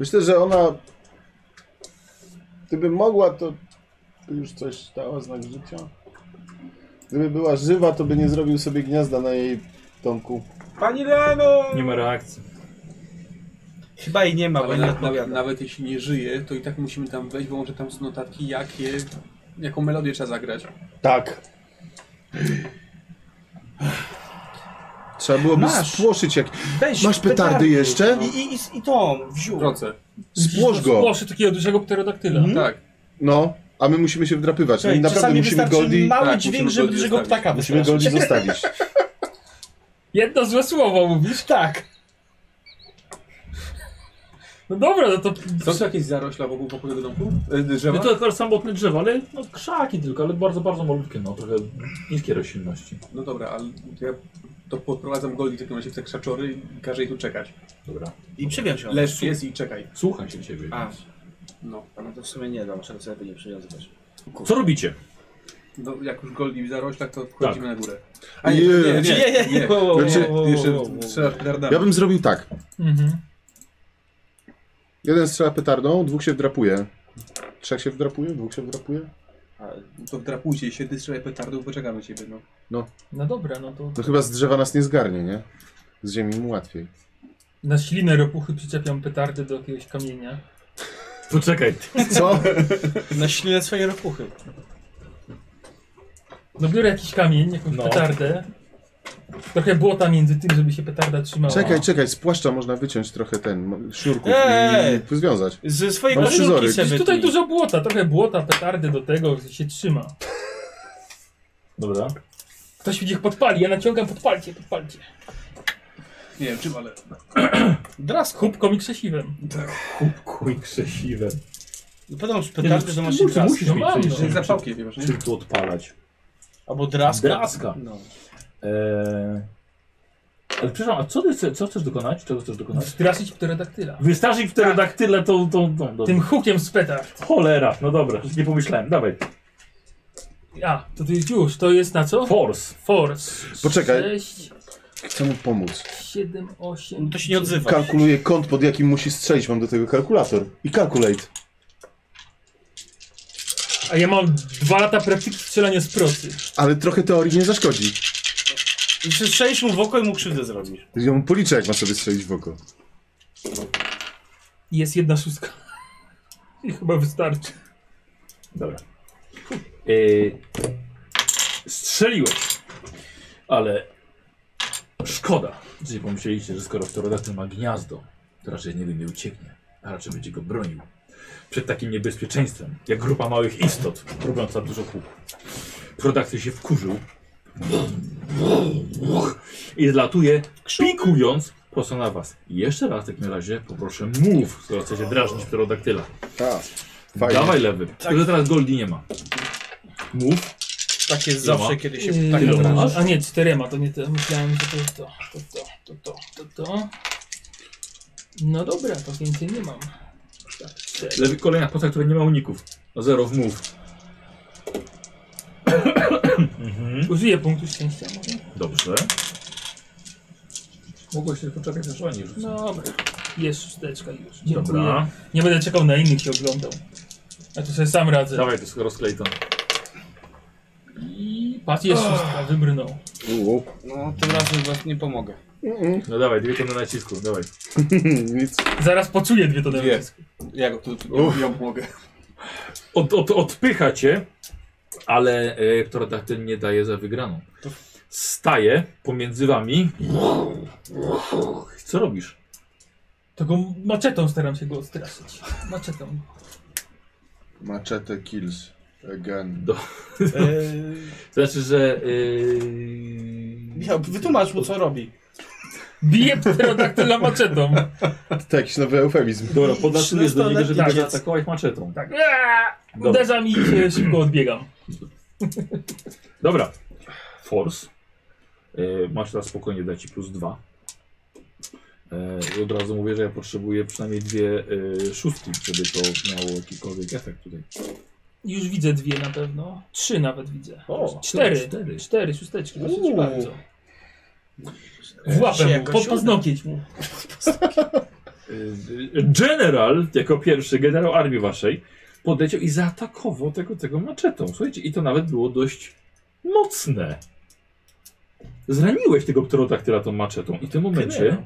E: Myślę, że ona... Gdyby mogła, to by już coś dała znak życia. Gdyby była żywa, to by nie zrobił sobie gniazda na jej domku.
B: Pani Leno!
A: Nie ma reakcji.
B: Chyba jej nie ma, bo
C: Ale
B: nie
C: na, nawet,
B: odpowiada.
C: nawet jeśli nie żyje, to i tak musimy tam wejść, bo może tam są notatki, jakie, jaką melodię trzeba zagrać.
E: Tak. Trzeba byłoby
B: Masz.
E: spłoszyć jak...
B: Weź no.
E: Masz petardy jeszcze?
B: I, i, i, i tą, wziół.
C: Proce.
E: Spłosz go!
D: Spłoszy takiego dużego pterodaktyla.
C: Tak.
E: No, a my musimy się wdrapywać. No i
B: Słuchaj,
E: naprawdę
B: czasami
E: musimy
B: wystarczy
E: Goldi...
B: mały
C: tak,
B: dźwięk,
C: musimy
B: żeby
C: Goldie
B: dużego
C: zostawić.
B: ptaka
E: Musimy Goldi
B: wystraszyć.
E: zostawić.
D: Jedno złe słowo mówisz?
B: Tak.
D: No dobra, no to...
C: Są tu jakieś zarośla wokół, wokół tego domku? E, Drzewa?
A: No to akurat samotne drzewa, ale no, krzaki tylko, ale bardzo, bardzo malutkie, no trochę niskie roślinności.
C: No dobra, ale to ja to podprowadzam Goldie w takim razie w te krzaczory i każę jej tu czekać.
A: Dobra.
B: I przywiąż ją.
C: Leż No. jest i czekaj.
A: Słuchaj się ciebie.
B: A,
C: No.
B: no to w sumie nie dam, trzeba sobie nie przywiązywać.
A: Co robicie?
C: no jak już Goldie w zaroślach, to wchodzimy na górę. Tak. A
E: Nie,
C: nie, nie, nie, nie.
B: nie, wo, wo, wo,
E: Znaczy,
B: wo, wo,
C: Jeszcze
B: wo, wo.
C: strzelasz petardami.
E: Ja bym zrobił tak.
D: Mhm.
E: Jeden strzela petardą, dwóch się wdrapuje. Trzech się wdrapuje, dwóch się wdrapuje.
C: A, To wdrapujcie się, ty strzelaj petardów, poczekamy ciebie, no.
D: No dobra, no to...
E: No chyba z drzewa nas nie zgarnie, nie? Z ziemi mu łatwiej.
D: Na ślinę ropuchy przyczepiam petardy do jakiegoś kamienia.
A: Poczekaj.
E: Co?
B: Na ślinę swojej ropuchy.
D: No biorę jakiś kamień, jakąś
A: No.
D: petardę. Trochę błota między tym, żeby się petarda trzymała.
E: Czekaj, czekaj, z płaszcza można wyciąć trochę ten mo- sznurków
B: Eee!
E: i związać.
B: Ze swojej
E: Masz
B: koszulki
E: scyzoryk.
B: sobie
D: Jest tutaj
B: tnij.
D: dużo błota, trochę błota, petardy do tego, że się trzyma.
A: Dobra.
D: Ktoś mi niech podpali, ja naciągam, podpalcie, podpalcie.
C: Nie wiem czym, ale...
D: Dras kubką i krzesiwem.
A: Kubku i krzesiwe.
B: No Podobno przy petardy to masz
A: musisz,
B: dras.
A: musisz
D: No
A: mieć
D: mam,
A: coś,
D: no.
A: żeby-
C: Zapałki, wiesz, nie?
A: żeby tu odpalać.
B: Albo draska.
A: Draska.
B: No.
A: Eee... Ale przepraszam, a co ty chce- co chcesz dokonać? Czego chcesz dokonać?
D: Straszyć pterodaktyla.
A: Wystarzyć w pterodaktyle tą, tą, tą, tą.
D: Tym hukiem z petard.
A: Cholera, no dobra, nie pomyślałem, dawaj.
D: A, to jest już, to jest na co?
A: Force.
D: Force.
E: Poczekaj.
D: 6,
E: Chcę mu pomóc.
D: 7, 8.
B: No to się nie odzywa.
E: Kalkuluję kąt, pod jakim musi strzelić. Mam do tego kalkulator. I calculate.
D: A ja mam dwa lata praktyki strzelania z procy. I
E: Ale trochę teorii nie zaszkodzi.
B: I Strzelisz mu w oko i mu krzywdę zrobisz.
E: Ja mu policzę, jak ma sobie strzelić w oko.
D: Jest jedna szóstka. I chyba wystarczy.
A: Dobra. Eee... E, Strzeliłeś. Ale szkoda, że nie pomyśleliście, że skoro pterodaktyl ma gniazdo, to raczej nie wiem, nie ucieknie, a raczej będzie go bronił. Przed takim niebezpieczeństwem, jak grupa małych istot, robiąca dużo kół. Pterodaktyl się wkurzył i zlatuje, pikując prosto na was. Jeszcze raz w takim razie poproszę mów, skoro chcecie drażnić pterodaktyla.
E: Tak. Fajnie.
A: Dawaj lewy, tylko teraz Goldi nie ma. Mów,
B: Tak jest
A: Iloma?
B: zawsze, kiedy się
D: Yy,
B: tak
A: Iloma?
B: nazywa.
A: masz?
D: A nie, czterema, to nie to. Myślałem, że to jest to. To, to, to, to, to, to. No dobra, to więcej nie mam. Tak,
A: lewy kolejna postać, która nie ma uników. No Zero w mów. Mhm.
D: Użyję punktu szczęścia może?
A: Dobrze. Mogłeś tylko poczekać, aż oni rzucą.
D: No Dobra. Jest szteczka już. Dziękuję.
A: Dobra.
D: Nie będę czekał na innych się oglądał. A to sobie sam radzę.
A: Dawaj to skoro sklejton.
D: I patrz, jest szóstka, wybrnął.
E: Uuu.
B: No, tym razem was nie pomogę.
A: No dawaj, dwie tony nacisku, dawaj.
E: Nic.
D: Zaraz poczuję dwie tony
C: Dwie.
D: nacisku.
C: Ja go tu, tu ją pomogę.
A: Od, od, odpycha cię, ale e, pterodaktyl nie daje za wygraną. Staje pomiędzy wami. Co robisz?
D: To go maczetą staram się go odstraszyć. Maczetą.
E: Machete kills. Again.
A: To znaczy, że... e,
B: Michał, wytłumacz mu, co robi.
D: Bije pterodaktyla maczetą.
E: To jakiś nowy eufemizm.
A: Dobra, podlatujesz do niego, żeby
D: Tak,
A: go
D: jest.
A: zaatakować maczetą.
D: Tak. Eee!
A: Dobra.
D: Uderzam i się szybko odbiegam.
A: Dobra. Force. E, masz teraz spokojnie, da ci plus dwa. E, I od razu mówię, że ja potrzebuję przynajmniej dwie e, szóstki, żeby to miało jakikolwiek efekt tutaj.
D: Już widzę dwie na pewno. Trzy nawet widzę.
A: O,
D: cztery.
A: cztery.
D: Cztery, cztery szósteczki, dosyć
B: Uuu.
D: bardzo. W łapę mu,
B: jakoś
D: pod
B: uda.
D: paznokieć mu.
A: E, General, jako pierwszy generał armii waszej, podleciał i zaatakował tego, tego maczetą. Słuchajcie, i to nawet było dość mocne. Zraniłeś tego pterodaktyla tą maczetą i w tym momencie...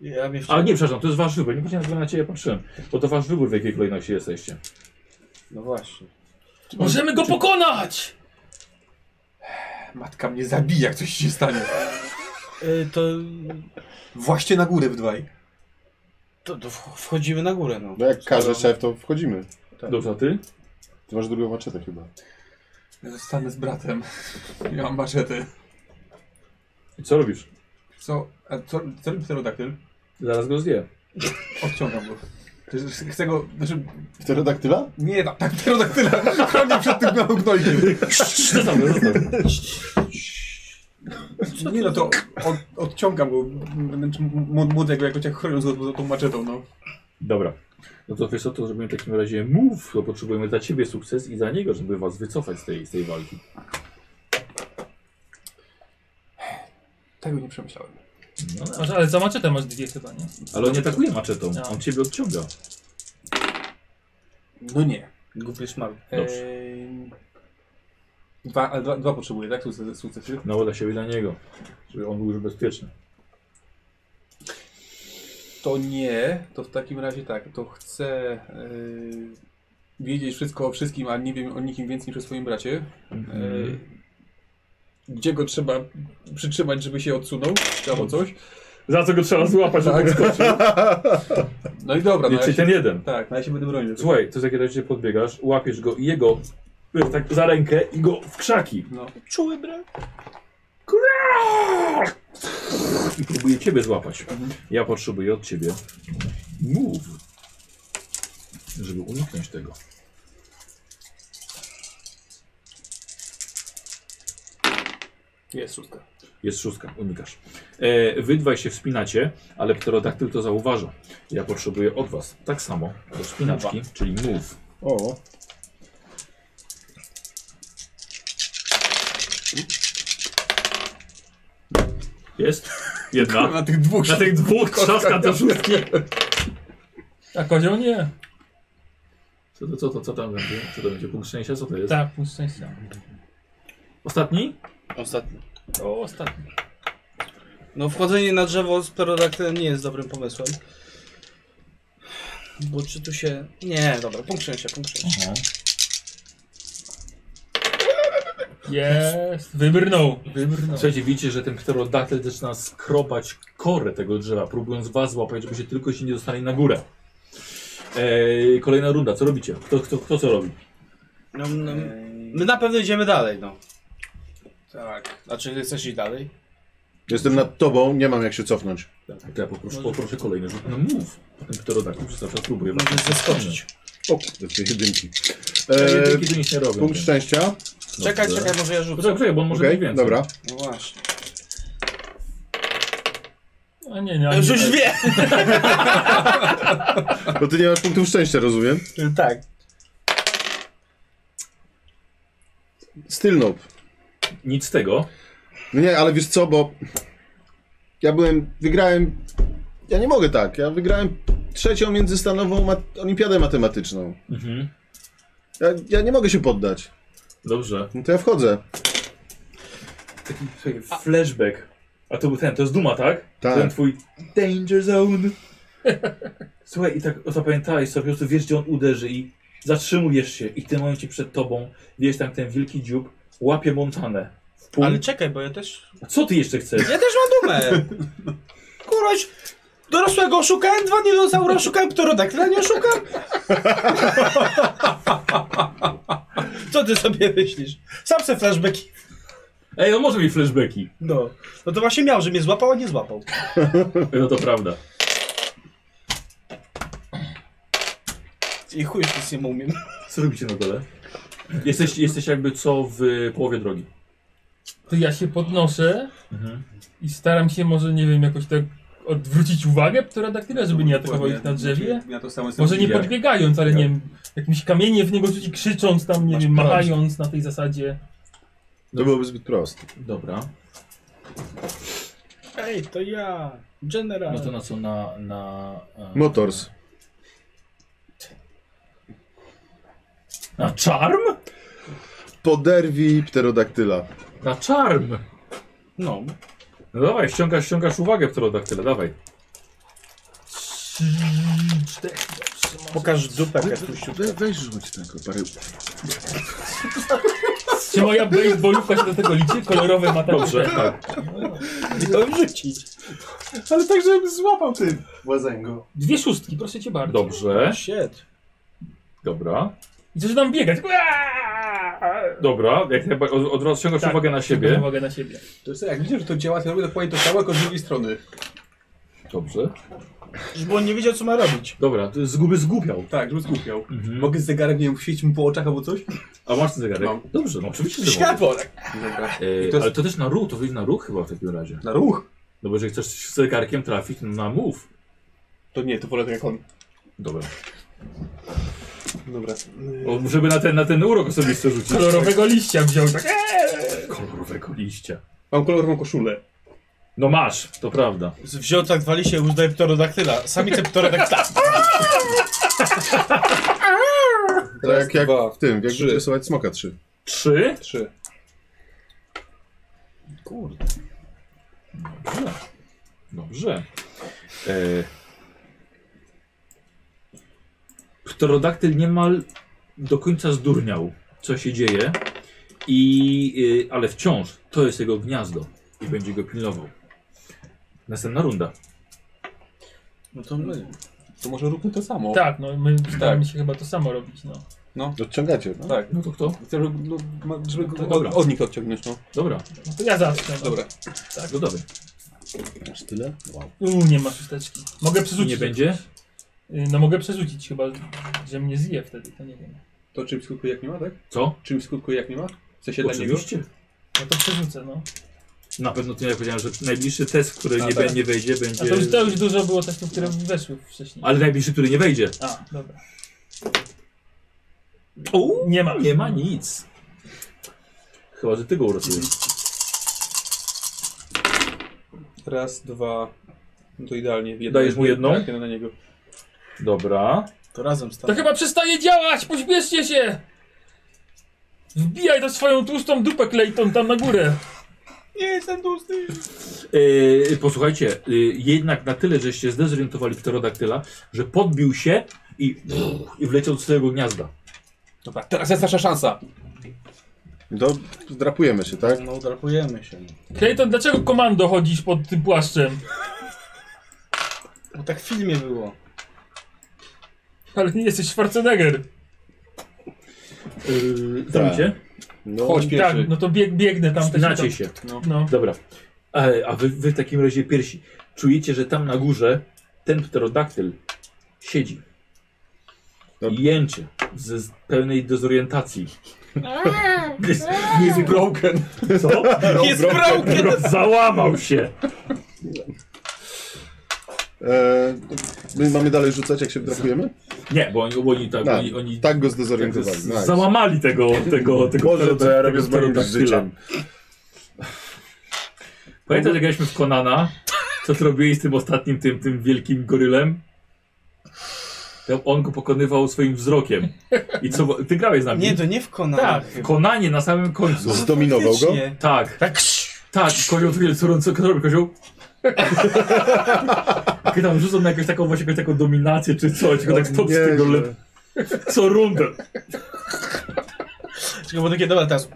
B: Ja mnie
A: Ale nie, przepraszam, to jest wasz wybór. Nie powiedziałem, że na ciebie patrzyłem. Bo to wasz wybór, w jakiej kolejności jesteście.
B: No właśnie.
D: Możemy go pokonać!
C: Matka mnie zabije, jak coś się stanie.
B: Y, to,
C: Właśnie na górę w dwaj.
B: to, to wch- wchodzimy na górę, no.
E: No jak każe szef, to wchodzimy.
A: Dobrze, a ty?
E: Ty masz drugą maczetę chyba.
C: Ja Zostanę z bratem. Ja mam maszety.
A: I co robisz?
C: Co? A co, co robi pterodaktyl?
A: Zaraz go zje.
C: Odciągam go. To jest- Chcę go... Znaczy,
E: Pterodaktyla?
C: nie, tak, tak pterodaktyla. Chronię przed tym małym gnojkiem.
A: Zostaw, go, zostaw. go.
C: Nie no, to od, odciągam go. Znaczy, m- młodzę go jakoś jak chronią z tą maczetą, no.
A: Dobra. No to wiesz co, to zrobimy w takim razie move, to potrzebujemy dla ciebie sukces i za niego, żeby was wycofać z tej, z tej walki.
C: Tego nie przemyślałem.
A: No, no.
D: Masz, ale za maczetę masz dwie chyba, nie?
A: ale on nie atakuje maczetą,
D: No.
A: on ciebie odciąga.
C: No nie.
B: Głupi szmal.
A: Dobrze.
C: Ehm, Dwa, ale dwa, dwa potrzebuję, tak? Sukces, sukcesy.
A: No dla siebie i dla niego. Żeby on był już bezpieczny.
C: To nie, to w takim razie tak, to chcę yy, wiedzieć wszystko o wszystkim, a nie wiem o nikim więcej niż o swoim bracie. Yy, gdzie go trzeba przytrzymać, żeby się odsunął, czy albo coś.
A: Za co go trzeba złapać, żeby
C: Tak.
A: podskoczył?
C: No i dobra, no
A: Nie,
C: ja się,
A: czyli ten jeden.
C: tak, no ja się będę bronił.
A: Słuchaj, to za kiedy się podbiegasz, łapiesz go i jego y, tak za rękę i go w krzaki.
C: No.
B: Czuły brak.
A: I próbuję ciebie złapać. Ja potrzebuję od ciebie move, żeby uniknąć tego.
C: Jest szóstka.
A: Jest szóstka, unikasz. E, wy dwaj się wspinacie, ale pterodaktyl to zauważa. Ja potrzebuję od was tak samo do wspinaczki, czyli move.
E: O.
A: Jest? Jedna.
C: Na tych dwóch
A: Na tych dwóch trzaska do szóstki.
D: A Tak, kozioł nie.
A: Co to, co to, co tam będzie? Co to będzie? Punkt szczęścia? Co to jest?
D: Tak, punkt szczęścia.
A: Ostatni?
B: Ostatni.
D: O, ostatni.
B: No wchodzenie na drzewo z pterodaktylem nie jest dobrym pomysłem. Bo czy tu się... Nie, dobra, punkt szczęścia, punkt szczęścia.
D: Jest, wybrnął. Wybrnął.
A: Słuchajcie, widzicie, że ten pterodaktyl zaczyna skrobać korę tego drzewa, próbując was złapać, żebyście tylko się nie dostali na górę. Eee, kolejna runda, co robicie? Kto, kto, kto co robi?
B: No, no, my na pewno idziemy dalej, no. Tak. Znaczy, ty chcesz iść dalej?
E: Jestem nad tobą, nie mam jak się cofnąć.
A: Tak, ja poproszę, poproszę kolejny No rzut na move. Ten pterodaktyl przez cały czas próbuje was
B: Możesz zeskoczyć.
E: O, to dwie jedynki.
A: Te
E: E,
A: jedynki to Eee, nic nie robią.
E: punkt
A: Dobrze.
E: szczęścia.
D: No
B: Czekaj, czekaj, może ja rzucę.
A: Poczekaj, poczekaj, bo on może
E: Okej,
A: mieć więcej.
E: dobra.
B: No właśnie.
D: A nie, nie,
B: Ja
D: nie. tak.
B: Już już wie!
E: Bo ty nie masz punktów szczęścia, rozumiem?
B: Tak.
E: Still nope.
A: Nic z tego.
E: No nie, ale wiesz co, bo ja byłem, wygrałem, ja nie mogę tak, ja wygrałem trzecią międzystanową mat- olimpiadę matematyczną.
A: Mhm.
E: Ja, ja nie mogę się poddać.
A: Dobrze.
E: No to ja wchodzę.
A: Taki słuchaj, flashback. A to był ten, to jest Duma, tak?
E: Tak.
A: Ten twój danger zone. Słuchaj, i tak zapamiętałeś sobie, po prostu wiesz, gdzie on uderzy i zatrzymujesz się i w tym momencie przed tobą wiesz tam ten wielki dziób, łapie Montanę. W pół.
B: Ale czekaj, bo ja też...
A: A co ty jeszcze chcesz?
B: Ja też mam dumę! Kuroś! Dorosłego oszukałem, dwa dinozaury oszukałem, pterodaktyla nie oszukam? Co ty sobie myślisz? Sam se flashbacki.
A: Ej, on może mieć flashbacki.
B: No. No to właśnie miał, że mnie złapał, a nie złapał.
A: No to prawda.
B: I chuj, już nic nie umiem.
A: Co robicie na dole? Jesteś, jesteś jakby co w połowie drogi.
D: To ja się podnoszę
A: Mhm.
D: i staram się może, nie wiem, jakoś tak odwrócić uwagę pterodaktyla, żeby nie atakował ich na drzewie.
C: Ja to samo
D: Może nie
A: No, Znaczy, Jak?
D: podbiegając, ale nie wiem, jakimś kamieniem w niego rzucić, krzycząc tam, nie
B: Masz
D: wiem,
B: prawo.
D: machając na tej zasadzie.
E: To byłoby zbyt proste.
A: Dobra.
B: Ej, to ja. General.
A: No to na co? Na... na e,
E: Motors.
A: Na czarm?
E: Poderwij pterodaktyla.
A: Na czarm!
B: No.
A: No dawaj, ściągasz, ściągasz uwagę pterodaktyla, dawaj.
B: Pokaż dupę, Katusiu.
E: We, weź rzuć tego parę...
D: Czy moja baseballówka się do tego liczy? Kolorowe ma tam
A: Dobrze, tak.
B: To wrzucić.
C: Ale tak, żebym złapał ty.
E: Łazęgo.
D: Dwie szóstki, proszę cię bardzo.
A: Dobrze,
B: Shit.
A: dobra.
D: I zaczynam biegać. Aaaa!
A: Dobra, jak najba- od, od razu ściągasz
D: Tak.
A: uwagę na siebie.
D: Uwagę na siebie.
C: To jest, tak, jak widzę, że to działa, to robię dokładnie to samo, tylko z drugiej strony.
A: Dobrze.
B: Bo on nie wiedział, co ma robić.
A: Dobra, to zguby zgubiał.
C: Tak, żebym skupiał.
A: Mhm.
C: Mogę z zegarem, nie wiem, świecić mu po oczach albo coś?
A: A masz ten zegarek?
C: Mam.
A: Dobrze, no oczywiście, że mogę.
C: Światło! tak. Dobra.
A: E,
C: I to jest-
A: Ale to też na ruch, to wyjdzie na ruch chyba w takim razie.
C: Na ruch?
A: No bo jeżeli chcesz z zegarkiem trafić, no na move.
C: To nie, to wolę tak jak on.
A: Dobra.
C: Dobra.
A: O, żeby na ten, na ten urok osobisty rzucić.
D: Kolorowego liścia wziął tak.
A: Kolorowego liścia.
C: Mam kolorową koszulę.
A: No masz, to prawda.
B: Wziął tak dwa liście i uznaje pterodaktyla. Samice pterodaktyla.
E: Tak jak, jak
C: dwa,
E: w tym, jak
C: trzy.
E: rysować smoka 3.
A: Trzy.
C: Trzy.
B: Kurde.
A: Dobrze. Dobrze. E... Pterodaktyl niemal do końca zdurniał, co się dzieje, i, y, ale wciąż to jest jego gniazdo i będzie go pilnował. Następna runda.
B: No to my.
C: To może róbmy to samo.
D: Tak, no my staramy się chyba to samo robić, no.
E: Odciągacie. No.
C: Tak.
A: No to kto?
C: Chcę, żeby, no, ma- żeby go
A: Dobra.
C: od, od nich odciągnąć, no.
A: Dobra,
D: no to ja zacznę. No.
C: Dobra.
A: tak, no dobra.
E: Aż Tak. tyle? Wow.
D: Uuu, nie ma szósteczki. Mogę przerzucić.
A: Nie będzie?
D: Y, No mogę przerzucić chyba, że mnie zje wtedy, to nie wiem.
C: To czym skutkuje jak nie ma, tak?
A: Co?
C: Czym skutkuje jak nie ma? W sensie dla niego?
A: Oczywiście.
D: No to przerzucę, no.
A: Na pewno to ja powiedziałem, że najbliższy test, który
C: A,
A: nie,
C: tak.
A: be, nie wejdzie,
D: A to już,
A: będzie.
D: to już dużo było testów, które weszły wcześniej.
A: Ale najbliższy, który nie wejdzie.
D: A, dobra.
A: O,
D: Nie ma.
A: nie ma nic. Chyba, że ty go uratujesz.
C: Raz, dwa... No to idealnie.
A: Dajesz mu jedną?
C: Tak, jedna na niego.
A: Dobra.
B: To razem
D: To
B: stanie.
D: chyba przestaje działać, pośpieszcie się! Wbijaj to swoją tłustą dupę, Clayton, tam na górę.
B: Nie jestem tłusty.
A: Yy, posłuchajcie, yy, jednak na tyle, żeście zdezorientowali pterodaktyla, że podbił się i, i wleciał do swojego gniazda.
C: Dobra, teraz jest nasza szansa.
E: To drapujemy się, tak?
B: No, drapujemy się.
D: Clayton, dlaczego komando chodzisz pod tym płaszczem?
B: Bo tak w filmie było.
D: Ale nie jesteś Schwarzenegger.
A: Yy,
E: Tak.
A: Zrobicie?
E: No,
C: Chodź pierwszy.
D: Tak, no to bieg, biegnę tam. też-
A: Znacie się.
D: No.
A: Dobra. A, a wy, wy w takim razie piersi. Czujecie, że tam na górze ten pterodaktyl siedzi. I jęczy ze z pełnej dezorientacji. Jest-
F: Easy broken.
A: Co?
B: Jest broken!
A: Załamał się.
E: e, my mamy dalej rzucać, jak się drapujemy?
A: Nie, bo oni, bo oni, tak,
E: No,
A: oni, oni
E: tak go
A: tak z-
E: zdezorientowali. Nice.
A: załamali tego, tego, tego
E: Boże, to ja robię z moim
A: pterodaktyla.
E: życiem.
A: Pamiętasz, jak graliśmy w Konana? Co zrobiłeś z tym ostatnim, tym, tym wielkim gorylem? To on go pokonywał swoim wzrokiem. I co, ty grałeś z nami?
B: Nie, to nie w Konach.
A: tak, w Konanie na samym końcu.
E: Zdominował go?
B: Faktycznie.
A: Tak,
B: Tak, ksz!
A: tak, kozioł tu jest, co, co co robi kozioł? Kiedy tam rzucą na jakąś taką, właśnie jakąś taką dominację czy coś, tylko tak
E: O,
A: stop z
E: nieźle.
A: tego le... co rundę.
B: Czekaj, bo takie, dobra, teraz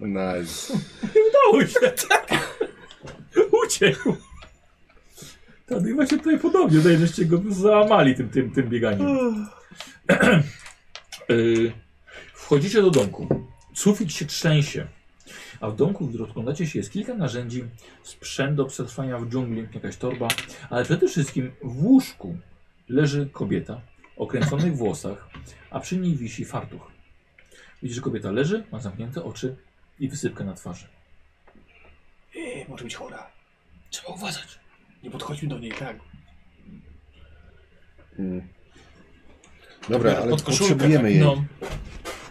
E: Nice.
A: Udało się. tak. Uciekł. Tak, no i właśnie tutaj podobnie, tutaj żeście go załamali tym, tym, tym bieganiem. Y, Wchodzicie do domku. Sufit się trzęsie. A w domku, gdy rozglądacie się, jest kilka narzędzi, sprzęt do przetrwania w dżungli, jakaś torba, ale przede wszystkim w łóżku leży kobieta o kręconych włosach, a przy niej wisi fartuch. Widzisz, że kobieta leży, ma zamknięte oczy i wysypkę na twarzy.
C: Ej, może być chora. Trzeba uważać. Nie podchodźmy do niej, tak.
E: Mm. Dobra, ale
B: Pod koszulkę,
E: potrzebujemy jej.
D: No.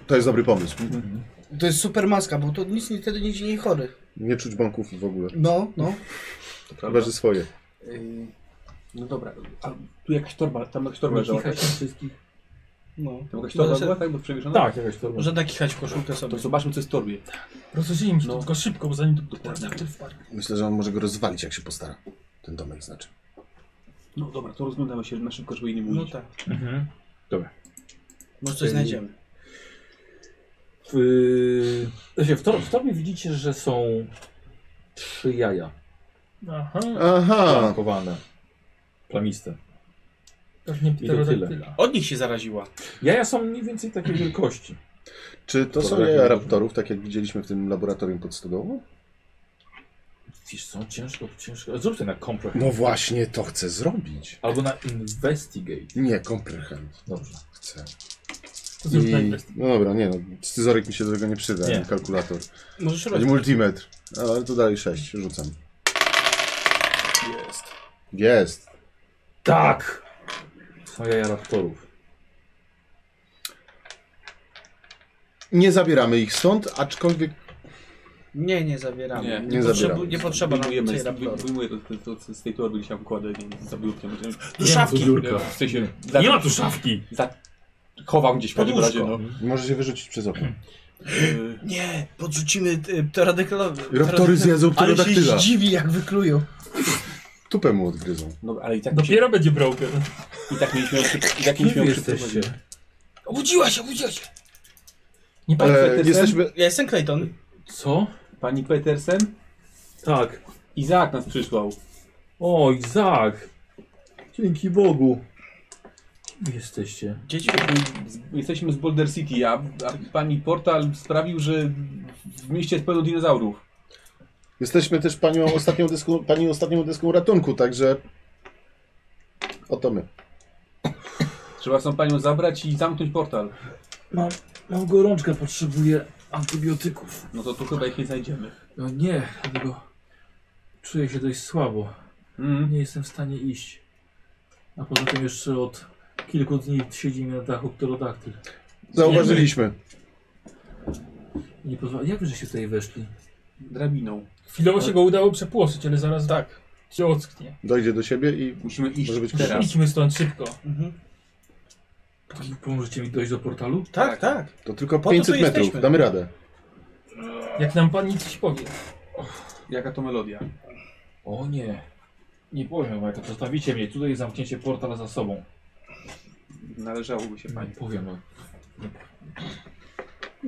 E: To jest dobry pomysł.
B: To jest super maska, bo to nic nie, wtedy nie dzieje chory.
E: Nie czuć bąków w ogóle.
B: No, no.
C: To prawda.
E: Chyba, że swoje.
C: Yy, no dobra, a tu jakaś torba, tam jakaś torba
A: Nie
C: leżała.
A: kichać
C: Tak?
A: się wszystkich.
B: no.
C: Tam jakaś torba
B: Może-
C: była, tak? Bo przewieszona?
A: Tak, jakaś torba.
B: Można kichać koszulkę sobie.
C: To zobaczmy, co jest w torbie.
D: Rozejrzyjmy się,
C: No.
D: tylko szybko, bo zanim to pterodaktyl wpadł.
E: Myślę, że on może go rozwalić, jak się postara. Ten domek znaczy.
C: No dobra, to rozglądamy się na szybko, żeby jej nie
B: No
C: mówić.
B: tak.
A: Mhm.
B: Może coś znajdziemy.
A: W, znaczy, w, tor w torbie widzicie, że są trzy jaja
D: Aha,
E: Aha!
A: plankowane, plamiste.
D: pewnie
A: I to
D: pterodaktyla.
B: Od nich się zaraziła.
A: Jaja są mniej więcej takiej wielkości.
E: Czy to są
A: Dobra,
E: jaja
A: nie
E: raptorów, tak jak widzieliśmy w tym laboratorium pod stodołą?
A: Wiesz co, ciężko, ciężko. Zrób to na comprehend.
E: No właśnie, to chcę zrobić.
A: Albo na investigate.
E: Nie, comprehend.
A: Dobrze.
E: Chcę.
D: To zrób
E: I-
D: na inwestycję.
E: No dobra, nie no, scyzoryk mi się do tego nie przyda,
A: Nie.
E: nie. kalkulator.
B: Możesz
E: Ani
B: robić.
E: multimetr. No, Ale to dalej 6, rzucam.
C: Jest.
E: Jest.
A: Tak! Są jaja raptorów.
E: Nie zabieramy ich stąd, aczkolwiek
B: Nie, nie zabieramy.
C: Nie,
E: nie
B: potrzebu-
E: zabieramy.
B: Nie potrzeba nam
C: Wyjmujemy,
B: więcej
C: z- wy-
B: raptorów.
C: wyjmuję to, to, to z tej torby, gdzieś tam wkładę, nie wiem, za biurkiem.
B: Do
A: Nie ma tu
B: szafki.
A: biurka.
C: W sensie, za,
A: Nie ma tu szafki!
C: za, chowam gdzieś w każdym
B: Pod
C: razie,
B: łóżko.
C: no.
E: może się wyrzucić przez okno.
C: Yy,
B: Nie, podrzucimy y, pterodaktylowi.
E: Raptory zjedzą
B: Ale się
E: pterodaktyla.
B: zdziwi jak wyklują.
E: Tupę mu odgryzą.
C: no, ale i tak, mi się,
D: Dopiero będzie broken.
C: i tak mieliśmy ją przy- i tak
A: Kim
C: mieliśmy
A: wy
C: ją przy-
A: jesteście?
B: Obudziła się, obudziła się.
D: Nie pan
E: E, jesteśmy...
B: Ja jestem Clayton.
A: Co?
C: Pani Petersen?
A: Tak.
C: Izaak nas przysłał.
A: O, Izak! Dzięki Bogu. Kim wy jesteście?
B: Dzieci.
C: Z- Jesteśmy z Boulder City, a, a pani Portal sprawił, że w mieście jest pełno dinozaurów.
E: Jesteśmy też panią ostatnią deską, pani ostatnią deską ratunku, także... Oto my.
C: Trzeba są panią zabrać i zamknąć portal.
A: Mam, mam gorączkę, potrzebuję antybiotyków.
C: No to tu chyba ich nie znajdziemy.
A: No nie, dlatego czuję się dość słabo.
C: Mm.
A: Nie jestem w stanie iść. A poza tym jeszcze od kilku dni siedzi mi na dachu pterodaktyl.
E: Zauważyliśmy.
A: I Nie pozwala... Jak wy żeście tutaj weszli?
C: Drabiną.
D: Chwilowo się go udało przepłoszyć, ale zaraz tak. się ocknie.
E: Dojdzie do siebie i...
C: Musimy iść
E: Może być
C: teraz.
D: Idźmy stąd szybko.
B: Mhm.
A: Pomożecie mi dojść do portalu?
B: Tak, tak.
E: To tylko
B: Po co
E: 500
B: tu
E: metrów,
B: jesteśmy?
E: damy radę.
D: Jak nam pan nic powie.
C: Jaka to melodia?
A: O nie. Nie powiem wam, jak to zostawicie mnie tutaj i zamknięcie portal za sobą.
C: Należałoby się
A: Nie no.
C: pani.
A: powiem wam.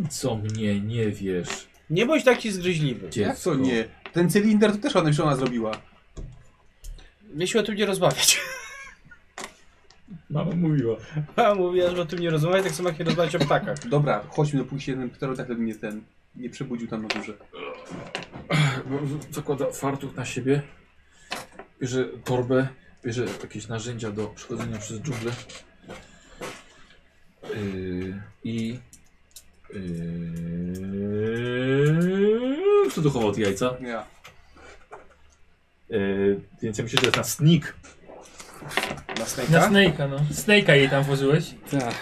A: Co mnie nie wiesz?
B: Nie bądź taki zgryźliwy.
C: Jak
A: Dziecko.
C: co nie? Ten cylinder to też ona, już ona zrobiła.
B: Mieliśmy o tym nie rozmawiać.
A: Mama mówiła.
B: A mówiła, żeby o tym nie rozmawiać, tak samo jak nie rozmawiać o ptakach.
C: Dobra, chodźmy dopóki się ten pterodaktyl nie tak ten, nie przebudził tam na górze.
A: Zakłada fartuch na siebie, bierze torbę, bierze jakieś narzędzia do przechodzenia przez dżunglę yy, i yy, kto tu chował te jajca?
C: Ja.
A: Yy, więc ja myślę, że jest na sneak.
B: Na
D: Na
B: snajka?
D: Snake'a, no. Snake'a jej tam włożyłeś.
B: Tak.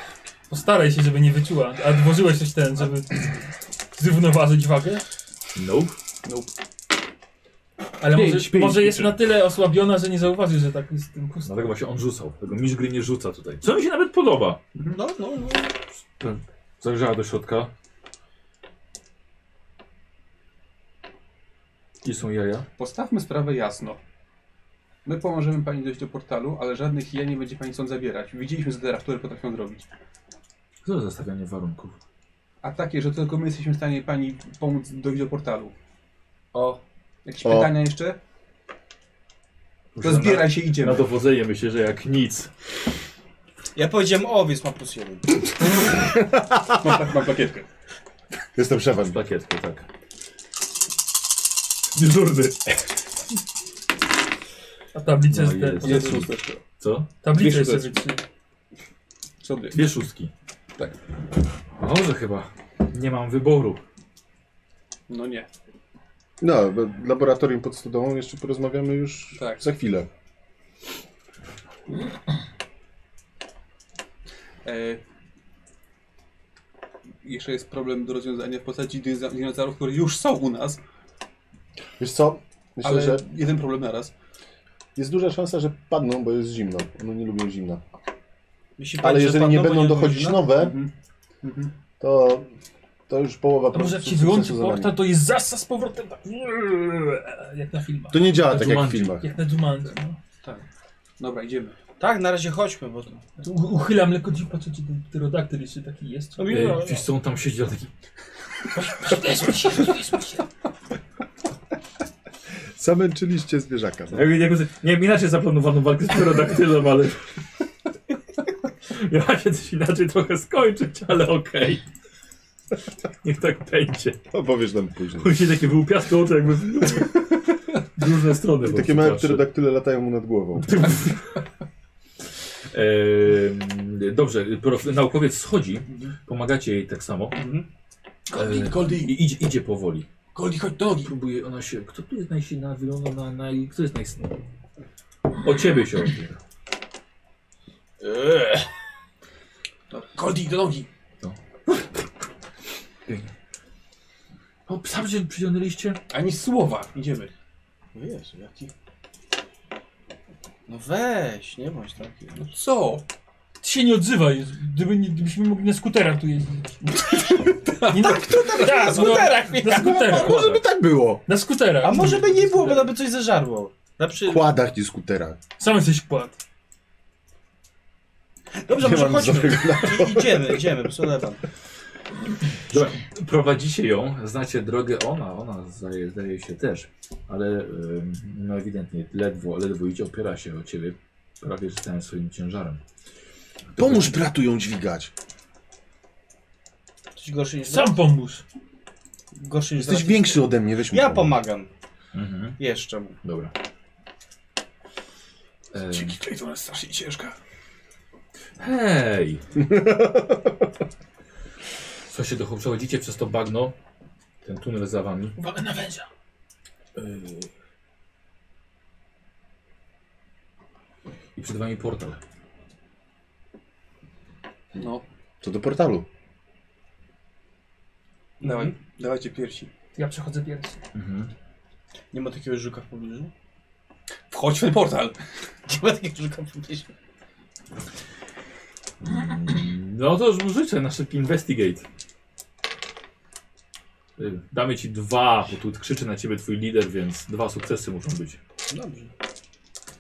D: Postaraj się, żeby nie wyczuła. A włożyłeś coś ten, żeby zrównoważyć wagę.
A: Nope.
D: Ale
C: Pięć,
D: może,
C: pięć
D: może jest
C: liczy.
D: na tyle osłabiona, że nie zauważy, że tak jest tym pustem.
A: Dlatego właśnie on rzucał. No Tego misz gry nie rzuca tutaj. Co mi się nawet podoba.
B: No, no, no.
A: Zajrzała do środka. Gdzie są jaja?
C: Postawmy sprawę jasno. My pomożemy pani dojść do portalu, ale żadnych ja nie będzie pani stąd zabierać. Widzieliśmy zadera, które potrafią zrobić.
A: Co za zastawianie warunków?
C: A takie, że tylko my jesteśmy w stanie pani pomóc dojść do portalu.
B: O.
C: Jakieś
E: O.
C: pytania jeszcze? To zbieraj się,
A: Na, na
C: idziemy.
A: dowodzenie myślę, że jak nic.
B: Ja powiedziałem o, więc mam plus jeden.
C: Mam, pla- mam plakietkę.
E: Jestem szefem.
A: Plakietkę, tak.
E: Dyżurny.
D: A tablica
A: No
D: jest te,
A: jest.
C: Jest szósteczka.
A: Co?
D: Tablica
C: Wiesz,
D: jest
C: co to
D: sobie
C: Co dwie?
A: Dwie szóstki.
C: Tak.
A: Dobrze chyba. Nie mam wyboru.
C: No nie.
E: No, bo laboratorium pod studową jeszcze porozmawiamy już
C: Tak.
E: za chwilę.
C: E, jeszcze jest problem do rozwiązania w postaci dyza- dinozaurów, które już są u nas,
E: Wiesz co? Myślę,
C: ale
E: że
C: jeden problem naraz.
E: jest duża szansa, że padną, bo jest zimno. One nie lubią zimna.
B: Jeśli
E: Ale
B: powiesz, Tak, że
E: jeżeli
B: pan
E: nie
B: nowo
E: będą dochodzić
B: odrodzina,
E: nowe,
C: Mhm. Mhm.
E: to, to już połowa
D: A może jak
E: procesu
D: się wyłączy
E: sukcesu za nami.
D: portal, to jest zasa z powrotem tak... Jak na filmach.
E: To nie działa
A: To
E: tak jak w
A: Jumanji.
E: filmach.
D: Jak na Jumanji, no.
C: Dobra, idziemy.
B: Tak, na razie chodźmy, bo...
D: Tu u- Uchylam lekko dziw, patrzę, czy ten pterodaktyl jeszcze taki jest.
B: No,
A: Ej, E, wiesz co, on tam siedzi dla taki...
D: Weźmy się, weźmy się.
E: Zamęczyliście zwierzaka. No.
A: Jak, jak, nie wiem, inaczej zaplanowano walkę z pterodaktylem, ale... Miała się coś inaczej trochę skończyć, ale okej. Niech tak będzie.
E: Opowiesz nam później.
A: Później takie wyłupiaste oczy jakby... W różne strony.
E: I
A: po
E: takie
A: prostu
E: małe tak-
A: patrzy.
E: pterodaktyle latają mu nad głową.
A: Ehm, Dobrze, prof, naukowiec schodzi, pomagacie jej tak samo.
F: Goldi,
D: E.
A: Ehm,
F: Goldi,
A: I idzie, idzie powoli.
F: Goldi, chodź do nogi.
A: Próbuje ona się. Kto tu jest najsilniejszy? Wygląda na. Naj, kto jest najsilniejszy? O ciebie się opiera.
F: Goldi, do nogi.
A: O, psa się przyciągnęliście?
F: Ani słowa.
B: Idziemy.
F: Wiesz, jaki...
B: No weź, nie bądź taki. No.
C: Co?
D: Ty się nie odzywaj, gdyby nie, gdybyśmy mogli na skuterach tu jeździć. Nie, tak, tak, no, Na skuterach.
E: Może by tak było.
D: Na skuterach.
B: A może by nie było, bo nam by coś zażarło. Na przy...
E: Kładach i skuterach.
D: Sam jesteś kład.
B: Dobrze,
E: Nie
B: może
E: mam
B: chodźmy.
E: zdrowego na
B: I, idziemy, idziemy, Sullivan.
A: Dobra, prowadzicie ją, znacie drogę. Ona, ona zdaje, zdaje się też, ale ym, no ewidentnie ledwo, ledwo idzie, opiera się o ciebie. Prawie że całym swoim ciężarem.
E: Pomóż bratu ją dźwigać.
B: Coś gorszy niż...
D: Sam pomóż.
B: Gorszy niż...
E: Jesteś większy ode mnie, weź mu
B: Ja
E: pomóż.
B: pomagam.
A: Mhm.
B: Jeszcze mu.
A: Dobra. Em,
F: Dzięki której to ona jest strasznie ciężka.
A: Hej! Słuchajcie, do, przechodzicie przez to bagno. Ten tunel za wami.
D: Uwaga na węża.
A: I przed wami portal.
C: No.
E: To do portalu.
C: Dawaj, dawajcie piersi.
D: Ja przechodzę pierwszy.
A: Mhm.
B: Nie ma takiego żuka w pobliżu?
C: Wchodź w ten portal.
B: Nie ma takiego żuka w pobliżu.
A: No to już życzę na szybki investigate. Y, Damy ci dwa, bo tu krzyczy na ciebie twój lider, więc dwa sukcesy muszą być.
B: Dobrze.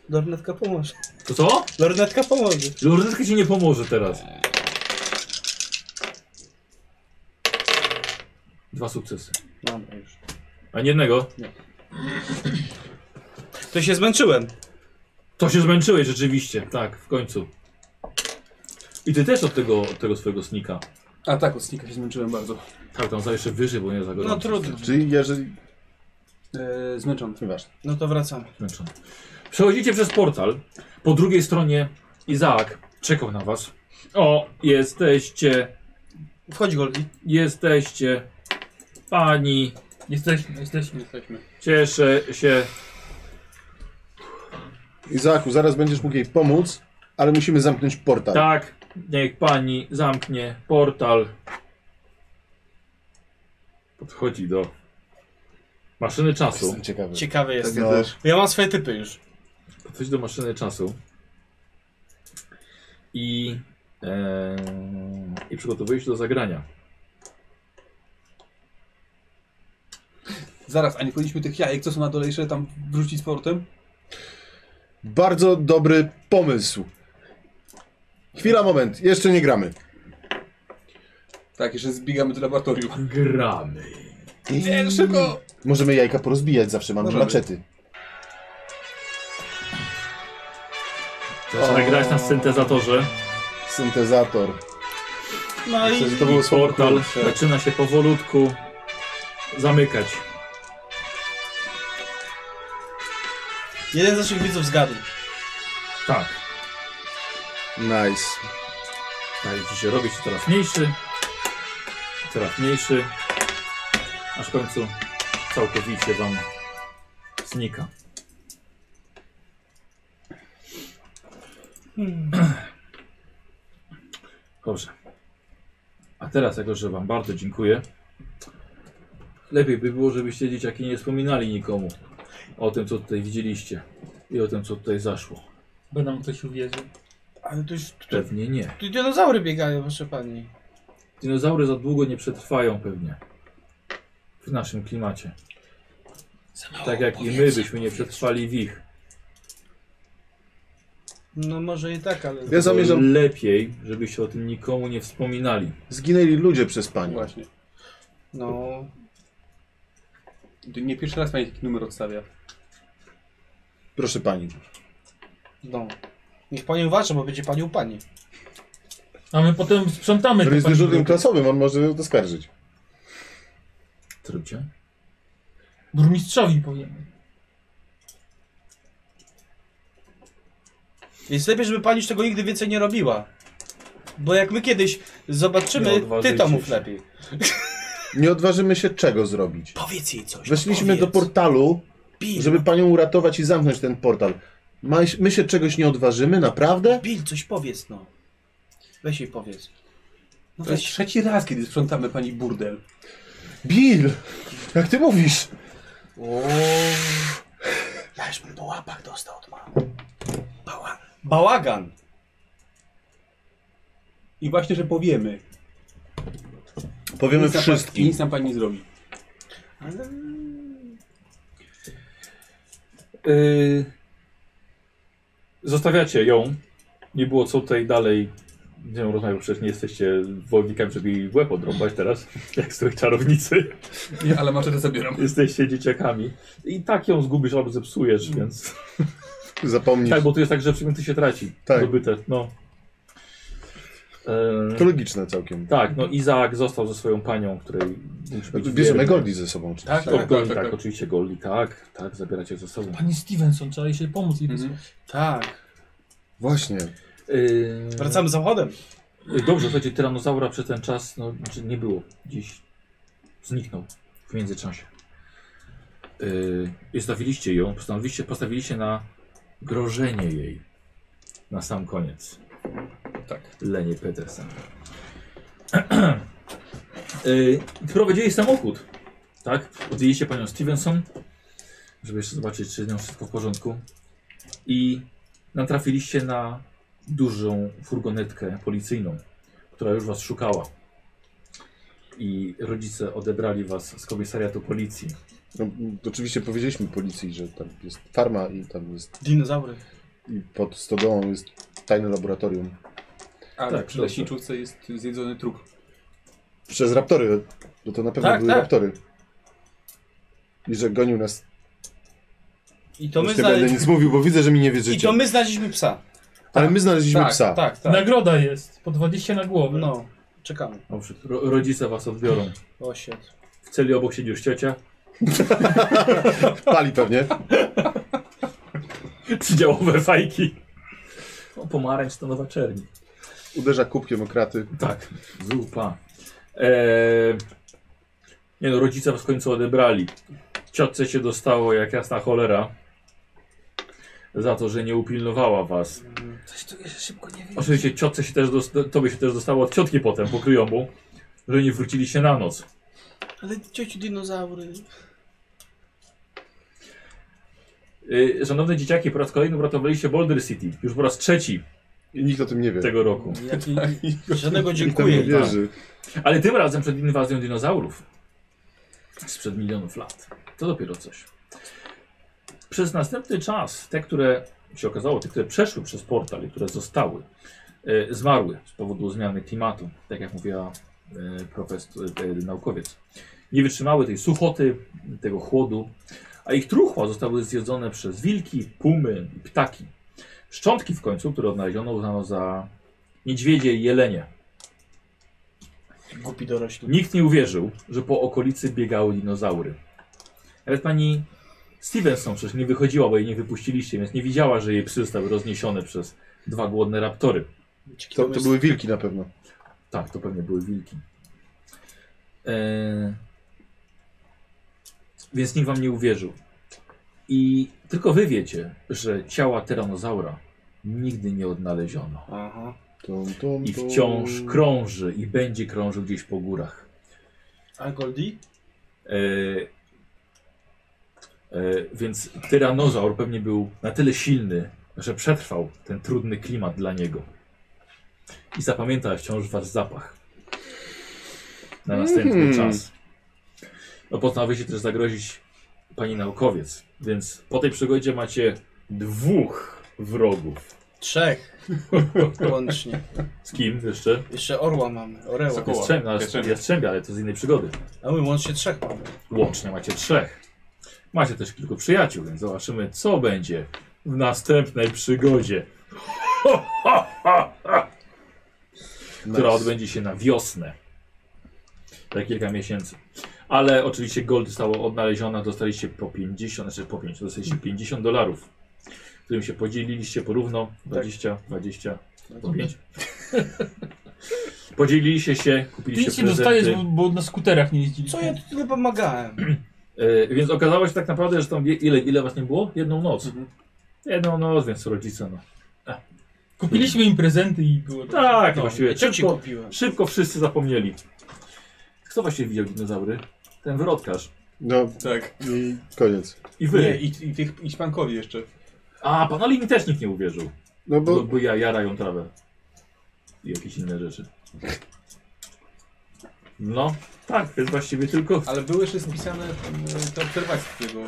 B: Lornetka pomoże.
A: To co?
B: Lornetka pomoże.
A: Lornetka ci nie pomoże teraz. Dwa sukcesy.
B: Mam już.
A: Ani jednego.
B: To się zmęczyłem. No
A: To się zmęczyłeś rzeczywiście. Tak, w końcu. I ty też od tego, od tego swojego snika.
C: A tak, od snika się zmęczyłem bardzo.
A: Tak, tam za jeszcze wyżej, bo nie za gorąco.
B: No trudno.
E: Czyli jeżeli...
C: E, zmęczony.
E: Nieważne.
B: No to wracamy.
A: Zmęczony. Przechodzicie przez portal. Po drugiej stronie Izaak czekał na was. O, jesteście,
B: Wchodź Goldi.
A: jesteście, pani,
D: Jesteśmy, jesteśmy.
C: Jesteśmy.
A: cieszę się.
E: Izaku, zaraz będziesz mógł jej pomóc, ale musimy zamknąć portal.
A: Tak, niech pani zamknie portal. Podchodzi do maszyny czasu.
E: Jestem ciekawy.
B: Ciekawy
E: Tak,
B: jestem.
E: ja też.
B: Ja mam swoje typy już.
A: Podchodzi do maszyny czasu. I, e, i przygotowuje się do zagrania.
C: Zaraz, a nie powinniśmy tych jajek, co są na dole jeszcze tam wrzucić z portem?
E: Bardzo dobry pomysł. Chwila, moment. Jeszcze nie gramy.
C: Tak, jeszcze zbiegamy do laboratorium.
A: Gramy.
C: Nie, szybko!
E: Możemy jajka porozbijać zawsze, mamy
C: Możemy.
E: maczety.
A: Zaczyna
E: O.
A: grać na syntezatorze.
E: Syntezator.
B: No i
E: Myślę, że to było słowo
A: Portal
E: klucze.
A: zaczyna się powolutku zamykać.
B: jeden z naszych widzów zgadł.
A: Tak.
E: Nice.
A: Dajcie się, robi się coraz mniejszy. Coraz mniejszy. Aż w końcu całkowicie wam znika. Hmm. Dobrze. A teraz, jako że wam bardzo dziękuję, lepiej by było, żebyście dzieciaki nie wspominali nikomu o tym, co tutaj widzieliście i o tym, co tutaj zaszło.
D: Bo nam ktoś uwierzył.
B: Ale to już... Tu,
A: Pewnie nie.
B: tu dinozaury biegają, proszę pani.
A: Dinozaury za długo nie przetrwają pewnie. W naszym klimacie. Tak jak i my byśmy nie przetrwali w ich.
B: No może i tak, ale...
E: Ja zamierzam...
A: Lepiej, żebyście o tym nikomu nie wspominali.
E: Zginęli ludzie przez panią.
C: Właśnie.
B: No...
C: To Nie pierwszy raz pani taki numer odstawia.
E: Proszę pani.
B: No. Niech pani uważa, bo będzie pani u pani.
D: A my potem sprzątamy.
E: Który
D: te
E: jest
D: pani-
E: dyżurnym klasowym, on może to skarżyć.
A: Co robicie?
D: Burmistrzowi powiemy.
B: Więc lepiej, żeby pani już tego nigdy więcej nie robiła. Bo jak my kiedyś
A: Nie
B: zobaczymy, ty
A: odważycie
B: to mów
A: się.
B: lepiej.
E: Nie odważymy się czego zrobić.
B: Powiedz jej coś.
E: Weszliśmy do portalu,
B: Bil,
E: żeby panią uratować i zamknąć ten portal. Maś- My się czegoś nie odważymy, naprawdę?
B: Bil, coś powiedz, no. Weź jej powiedz. No
C: To jest
B: weź.
C: trzeci raz, kiedy sprzątamy pani burdel.
E: Bill! Jak ty mówisz?
B: Ja już bym po łapach dostał od mamy. Bała... Bałagan.
C: I właśnie, że powiemy.
E: Powiemy
C: Nic nam pan- I
E: wszystkim.
C: nic nam pani nie zrobi.
B: Ale...
A: Zostawiacie ją. Nie było co tutaj dalej z nią rozmawiać, bo przecież nie jesteście wojownikami, żeby jej w łeb odrąbać teraz, jak z tych czarownicy.
C: Nie, ale maczetę zabieram.
A: Jesteście dzieciakami. I tak ją zgubisz albo zepsujesz,
E: Mm.
A: więc...
E: Zapomnij.
A: Tak, bo tu jest tak, że przedmioty się traci.
E: Tak.
A: Zdobyte, no. Eee,
E: To logiczne całkiem.
A: tak, no Izaak został ze swoją panią, której musi być
E: Bierzemy
A: wierny.
E: Goldie ze sobą. oczywiście.
A: Tak, tak, tak, oczywiście Goldi, tak, tak, zabieracie ze sobą.
D: Pani Stevenson, trzeba jej się pomóc.
A: Mhm,
D: i wysłać.
B: Tak.
E: Właśnie.
A: Eee,
B: Wracamy zachodem.
A: Dobrze, słuchajcie, tyranozaura przez ten czas, no, znaczy nie było, gdzieś zniknął w międzyczasie. Yy, i zostawiliście ją, postanowiliście, postawiliście na grożenie jej na sam koniec.
C: Tak.
A: Lenie Petersen. yy, prowadzili samochód, tak? Odjęliście panią Stevenson, żeby jeszcze zobaczyć, czy z nią wszystko w porządku. I natrafiliście na dużą furgonetkę policyjną, która już was szukała. I rodzice odebrali was z komisariatu policji.
E: No, m, oczywiście powiedzieliśmy policji, że tam jest farma i tam jest
B: Dinozaury.
E: i pod stodołą jest tajne laboratorium.
C: A
A: Tak,
C: przy leśniczówce jest zjedzony trup.
E: Przez raptory Bo to na pewno
B: Tak,
E: były
B: tak.
E: raptory. I że gonił nas.
B: I to my,
E: Już nie będę
B: znaleźli...
E: nic mówił, bo widzę, że mi nie
B: I
E: wierzycie.
B: to my znaleźliśmy psa.
E: Ale my znaleźliśmy
B: Tak,
E: psa.
B: tak, tak.
D: Nagroda jest, po 20 na głowę.
B: No, czekamy.
A: Dobrze, ro, rodzice was odbiorą.
B: O shit.
A: W celi obok siedzi już ciocia.
E: Pali pewnie.
A: Trzydziałowe fajki. O, pomarańcz to nowa czerni.
E: Uderza kubkiem o kraty.
A: Tak, zupa. Eee, nie no, rodzice was w końcu odebrali. Ciotce się dostało jak jasna cholera. Za to, że nie upilnowała was.
D: Coś tu jeszcze szybko nie wiem.
A: Oczywiście ciotce się też dosta- tobie się też dostało od ciotki potem, po kryjomu, że nie wróciliście na noc.
B: Ale ciociu dinozaury.
A: Yy, szanowne dzieciaki, po raz kolejny uratowaliście Boulder City. Już po raz trzeci
E: I nikt o tym nie wie.
A: tego roku.
B: Jaki... tak. Żadnego
E: Nikt tam nie
B: dziękuję. Tak.
E: wierzy.
A: Ale tym razem przed inwazją dinozaurów. Sprzed milionów lat. To dopiero coś. Przez następny czas te, które się okazało, te, które przeszły przez portal i które zostały, e, zmarły z powodu zmiany klimatu, tak jak mówiła e, profesor, e, naukowiec. Nie wytrzymały tej suchoty, tego chłodu, a ich truchła zostały zjedzone przez wilki, pumy i ptaki. Szczątki w końcu, które odnaleziono, uznano za niedźwiedzie i jelenie.
B: Głupi dorośli.
A: Nikt nie uwierzył, że po okolicy biegały dinozaury. Nawet pani Stevenson przecież nie wychodziła, bo jej nie wypuściliście, więc nie widziała, że jej psy zostały rozniesione przez dwa głodne raptory.
E: To, to były wilki na pewno.
A: Tak, to pewnie były wilki. Eee... Więc nikt wam nie uwierzył. I tylko wy wiecie, że ciała tyranozaura nigdy nie odnaleziono.
B: Aha.
E: Tum, tum,
A: I
E: tum.
A: wciąż krąży i będzie krążył gdzieś po górach.
B: A Goldie?
A: E, e, więc tyranozaur pewnie był na tyle silny, że przetrwał ten trudny klimat dla niego. I zapamięta wciąż wasz zapach. Na następny
E: Mm.
A: czas. No postanowił się też zagrozić pani naukowiec. Więc po tej przygodzie macie dwóch wrogów.
B: Trzech. Łącznie.
A: Z kim jeszcze?
B: Jeszcze orła mamy. Oreła.
C: Sokoła.
A: Jastrzębia,
C: Jastrzębia.
A: jastrzębia ale to z innej przygody.
B: A my łącznie trzech mamy.
A: Łącznie macie trzech. Macie też kilku przyjaciół, więc zobaczymy, co będzie w następnej przygodzie, która odbędzie się na wiosnę. Za kilka miesięcy. Ale oczywiście gold została odnaleziona, dostaliście po 50, znaczy po 50, dostaliście 50 dolarów, którym się podzieliliście porówno 20, 20, po 5. Podzieliliście się, kupiliście
D: 5
A: prezenty.
D: dostajesz, bo, bo na skuterach nie
B: Co
D: jeździliśmy.
B: ja tu tyle pomagałem?
A: E, więc okazało się tak naprawdę, że tam je- ile, ile was nie było? Jedną noc.
C: Mhm.
A: Jedną noc, więc rodzice
C: Tak,
A: no.
D: Kupiliśmy im prezenty i było
A: Tak,
B: No,
A: właściwie.
B: co ci
A: Szybko,
B: kupiłem?
A: szybko wszyscy zapomnieli. Kto właśnie widział dinozaury? Ten wrotkarz.
E: No
C: Tak.
E: i koniec.
A: I wy.
C: Nie, i, i tych Hiszpankowi jeszcze.
A: A, pan Oli mi też nikt nie uwierzył.
E: No
A: Bo,
E: bo
A: bo ja jarają trawę. I jakieś inne rzeczy. No, tak, więc właściwie tylko
C: Ale były jeszcze spisane e, te obserwacje mm, tego.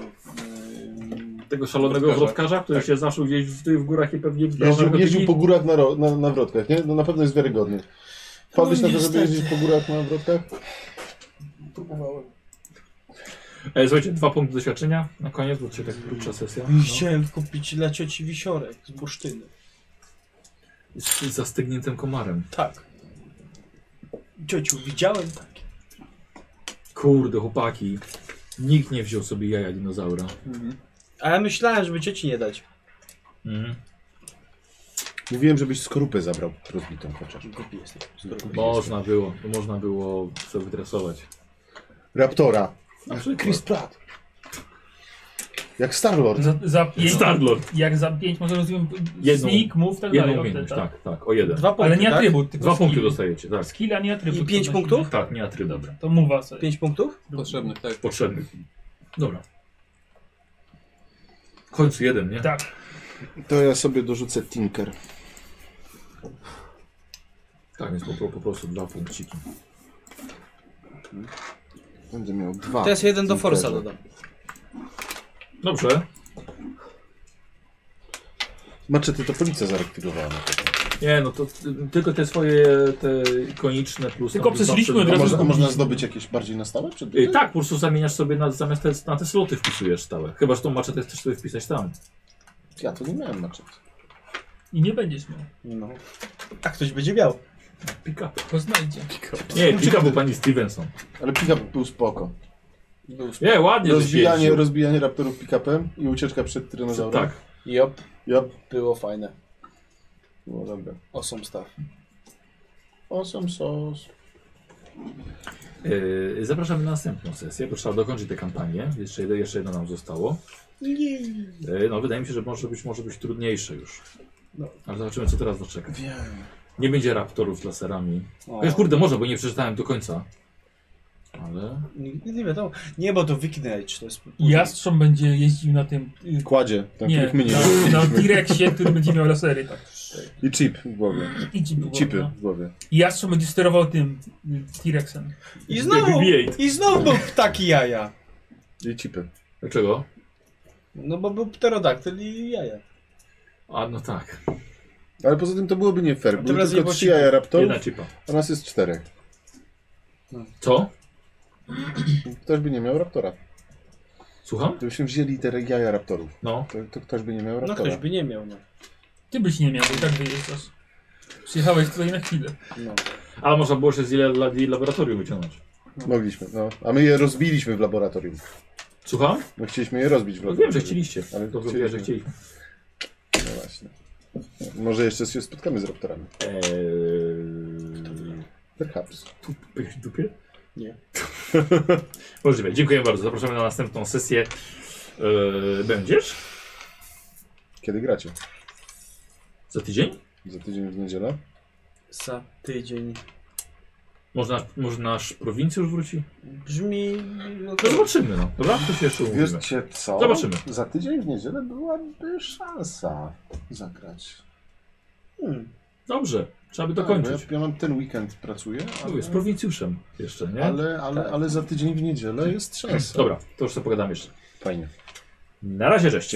C: e,
A: tego szalonego
C: Wrotkarza. Tak.
A: wrotkarza, który się zaszł gdzieś w, w górach i pewnie brał
E: jeździł,
A: narkotyki.
E: jeździł po górach na, ro- na, na wrotkach, nie? No na pewno jest wiarygodny. Wpadłeś
B: No,
E: na to,
B: niestety.
E: żeby jeździć po górach na wrotkach?
C: Próbowałem.
A: E, Słuchajcie, dwa punkty doświadczenia na koniec, bo dzisiaj tak krótsza sesja.
B: I Chciałem kupić dla cioci wisiorek z bursztyny.
A: Z z zastygniętym komarem.
B: Tak. Ciociu, widziałem takie.
A: Kurde, chłopaki. Nikt nie wziął sobie jaja dinozaura.
B: A ja myślałem, żeby cioci nie dać.
A: Mhm.
E: Mówiłem, żebyś skorupę zabrał rozbitą chociaż.
B: Głupi jestem.
A: Można było, można było sobie wydresować.
E: Raptora.
A: Na przykład.
E: Znaczy, Chris Pratt. Jak Star-Lord.
D: Za, za pięć,
A: Starlord.
D: Jak za 5 może rozumiem
A: Jedną-
D: sneak, move, tak dalej.
A: Jedną
D: o, te-
A: umiejętność, tak, tak, o jeden.
B: Dwa punkty,
D: Ale nie
B: tak?
D: atrybut, tylko
A: Dwa
D: skill.
A: punkty dostajecie, tak.
D: Skill, a nie atrybut.
B: I pięć
D: podnosi.
B: punktów?
A: Tak, nie atrybut.
D: Dobra, to mowa sobie.
B: Pięć punktów?
C: Potrzebnych, tak.
A: Potrzebny. Dobra. W końcu jeden, nie?
D: Tak.
E: To ja sobie dorzucę Tinker.
A: Tak, więc po, pro- po prostu dwa punkciki.
E: Będę miał dwa.
B: Teraz jeden do
E: Tinkerze.
B: Forza dodam.
A: Dobrze.
E: Maczety to policja zarektywowała na pewno.
A: Nie, no to y, tylko te swoje te ikoniczne plus.
D: Tylko
A: tam, plus
D: przeżyliśmy
A: zawsze-
D: od razu
E: A można, a
D: zgubiliśmy.
E: można zdobyć jakieś bardziej na stałe? Czy
A: Y, tak, po prostu zamieniasz sobie na, zamiast te, na te sloty wpisujesz stałe. Chyba, że tą maczetę chcesz sobie wpisać tam.
E: Ja to nie miałem na czym.
D: I nie będziesz miał.
B: No. A ktoś będzie miał.
A: Pick up.
D: To znajdzie.
A: Nie, pick up był pani Stevenson.
E: Ale pick-up był spoko.
B: Był sp-
A: Nie, ładnie
E: Rozbijanie,
A: rozbijanie.
E: rozbijanie raptorów pick-upem i ucieczka przed trynozaurem.
A: Tak.
B: Jop,
E: Jop.
B: było fajne.
E: No dobra.
B: Awesome stuff.
E: Awesome sauce.
A: Y, zapraszamy na następną sesję, bo trzeba dokończyć tę kampanię. Jeszcze, jedno- jeszcze jedno nam zostało. Y, no, wydaje mi się, że może być, może być trudniejsze już.
B: No.
A: Ale zobaczymy, co teraz nas czeka.
E: Wiem.
A: Nie będzie raptorów laserami.
B: O,
A: Chociaż kurde, może, bo nie przeczytałem do końca. Ale...
B: nigdy nie wiadomo. Nie, bo to Wikinage to jest...
D: Jastrząb będzie jeździł na tym... y,
E: Kładzie, tak ten,
D: nie, no,
E: których my nie
A: Tak.
D: na,
E: widzieliśmy.
D: na T-Rexie, który będzie miał lasery. tak.
E: I chip w głowie.
D: I chipy.
E: Chipy
D: No.
E: w głowie.
D: I Jastrząb będzie sterował tym y, T-Rexem.
B: I znowu,
A: BB-8.
B: I znowu był ptaki jaja.
E: I chipy.
A: Dlaczego?
B: No bo był pterodaktyl i jaja.
A: A, no tak.
E: Ale poza tym to byłoby nie fair. Były
B: teraz nie
E: tylko
B: było
E: trzy
B: chipa.
E: jaja raptorów,
A: Jedna cipa.
E: a nas jest czterech.
A: Co?
E: Ktoś by nie miał raptora.
A: Słucham?
E: Gdybyśmy wzięli te jaja raptorów,
A: No.
E: to, to ktoś by nie miał
B: No
E: raptora.
B: ktoś by nie miał, no.
D: Ty byś nie miał, bo i tak wyjeżdżasz. Przyjechałeś tutaj na chwilę.
B: no.
A: Ale można było się z ile dla- i laboratorium wyciągnąć.
E: Mogliśmy, no. A my je rozbiliśmy w laboratorium.
A: Słucham?
E: No chcieliśmy je rozbić w
A: No
E: laboratorium.
A: wiem, że chcieliście.
E: Ale
A: Ale to
E: chcieliśmy.
A: wiem, że chcieliśmy.
E: No właśnie. Może jeszcze się spotkamy z raptorami.
A: Eee...
E: Perhaps.
A: Tu, w dupie?
B: Nie.
A: Możliwe. Dziękuję bardzo. Zapraszamy na następną sesję. Eee, będziesz?
E: Kiedy gracie?
A: Za tydzień?
E: Za tydzień w niedzielę?
B: Za tydzień.
A: Może nasz, może nasz prowincjusz wróci?
B: Brzmi... No
A: No
B: to...
A: zobaczymy, no. Dobra? To się jeszcze umówimy.
E: Wiecie co?
A: Zobaczymy.
E: Za tydzień w niedzielę byłaby szansa zagrać.
B: Hmm.
A: Dobrze. Trzeba by
E: Tak,
A: dokończyć.
E: bo Ja, ja mam ten weekend pracuję,
A: Mówię, z prowincjuszem jeszcze, nie? Tak.
E: ale, ale, ale, ale za tydzień w niedzielę jest szansa.
A: Dobra, to już sobie pogadamy jeszcze.
E: Fajnie.
A: Na razie, cześć.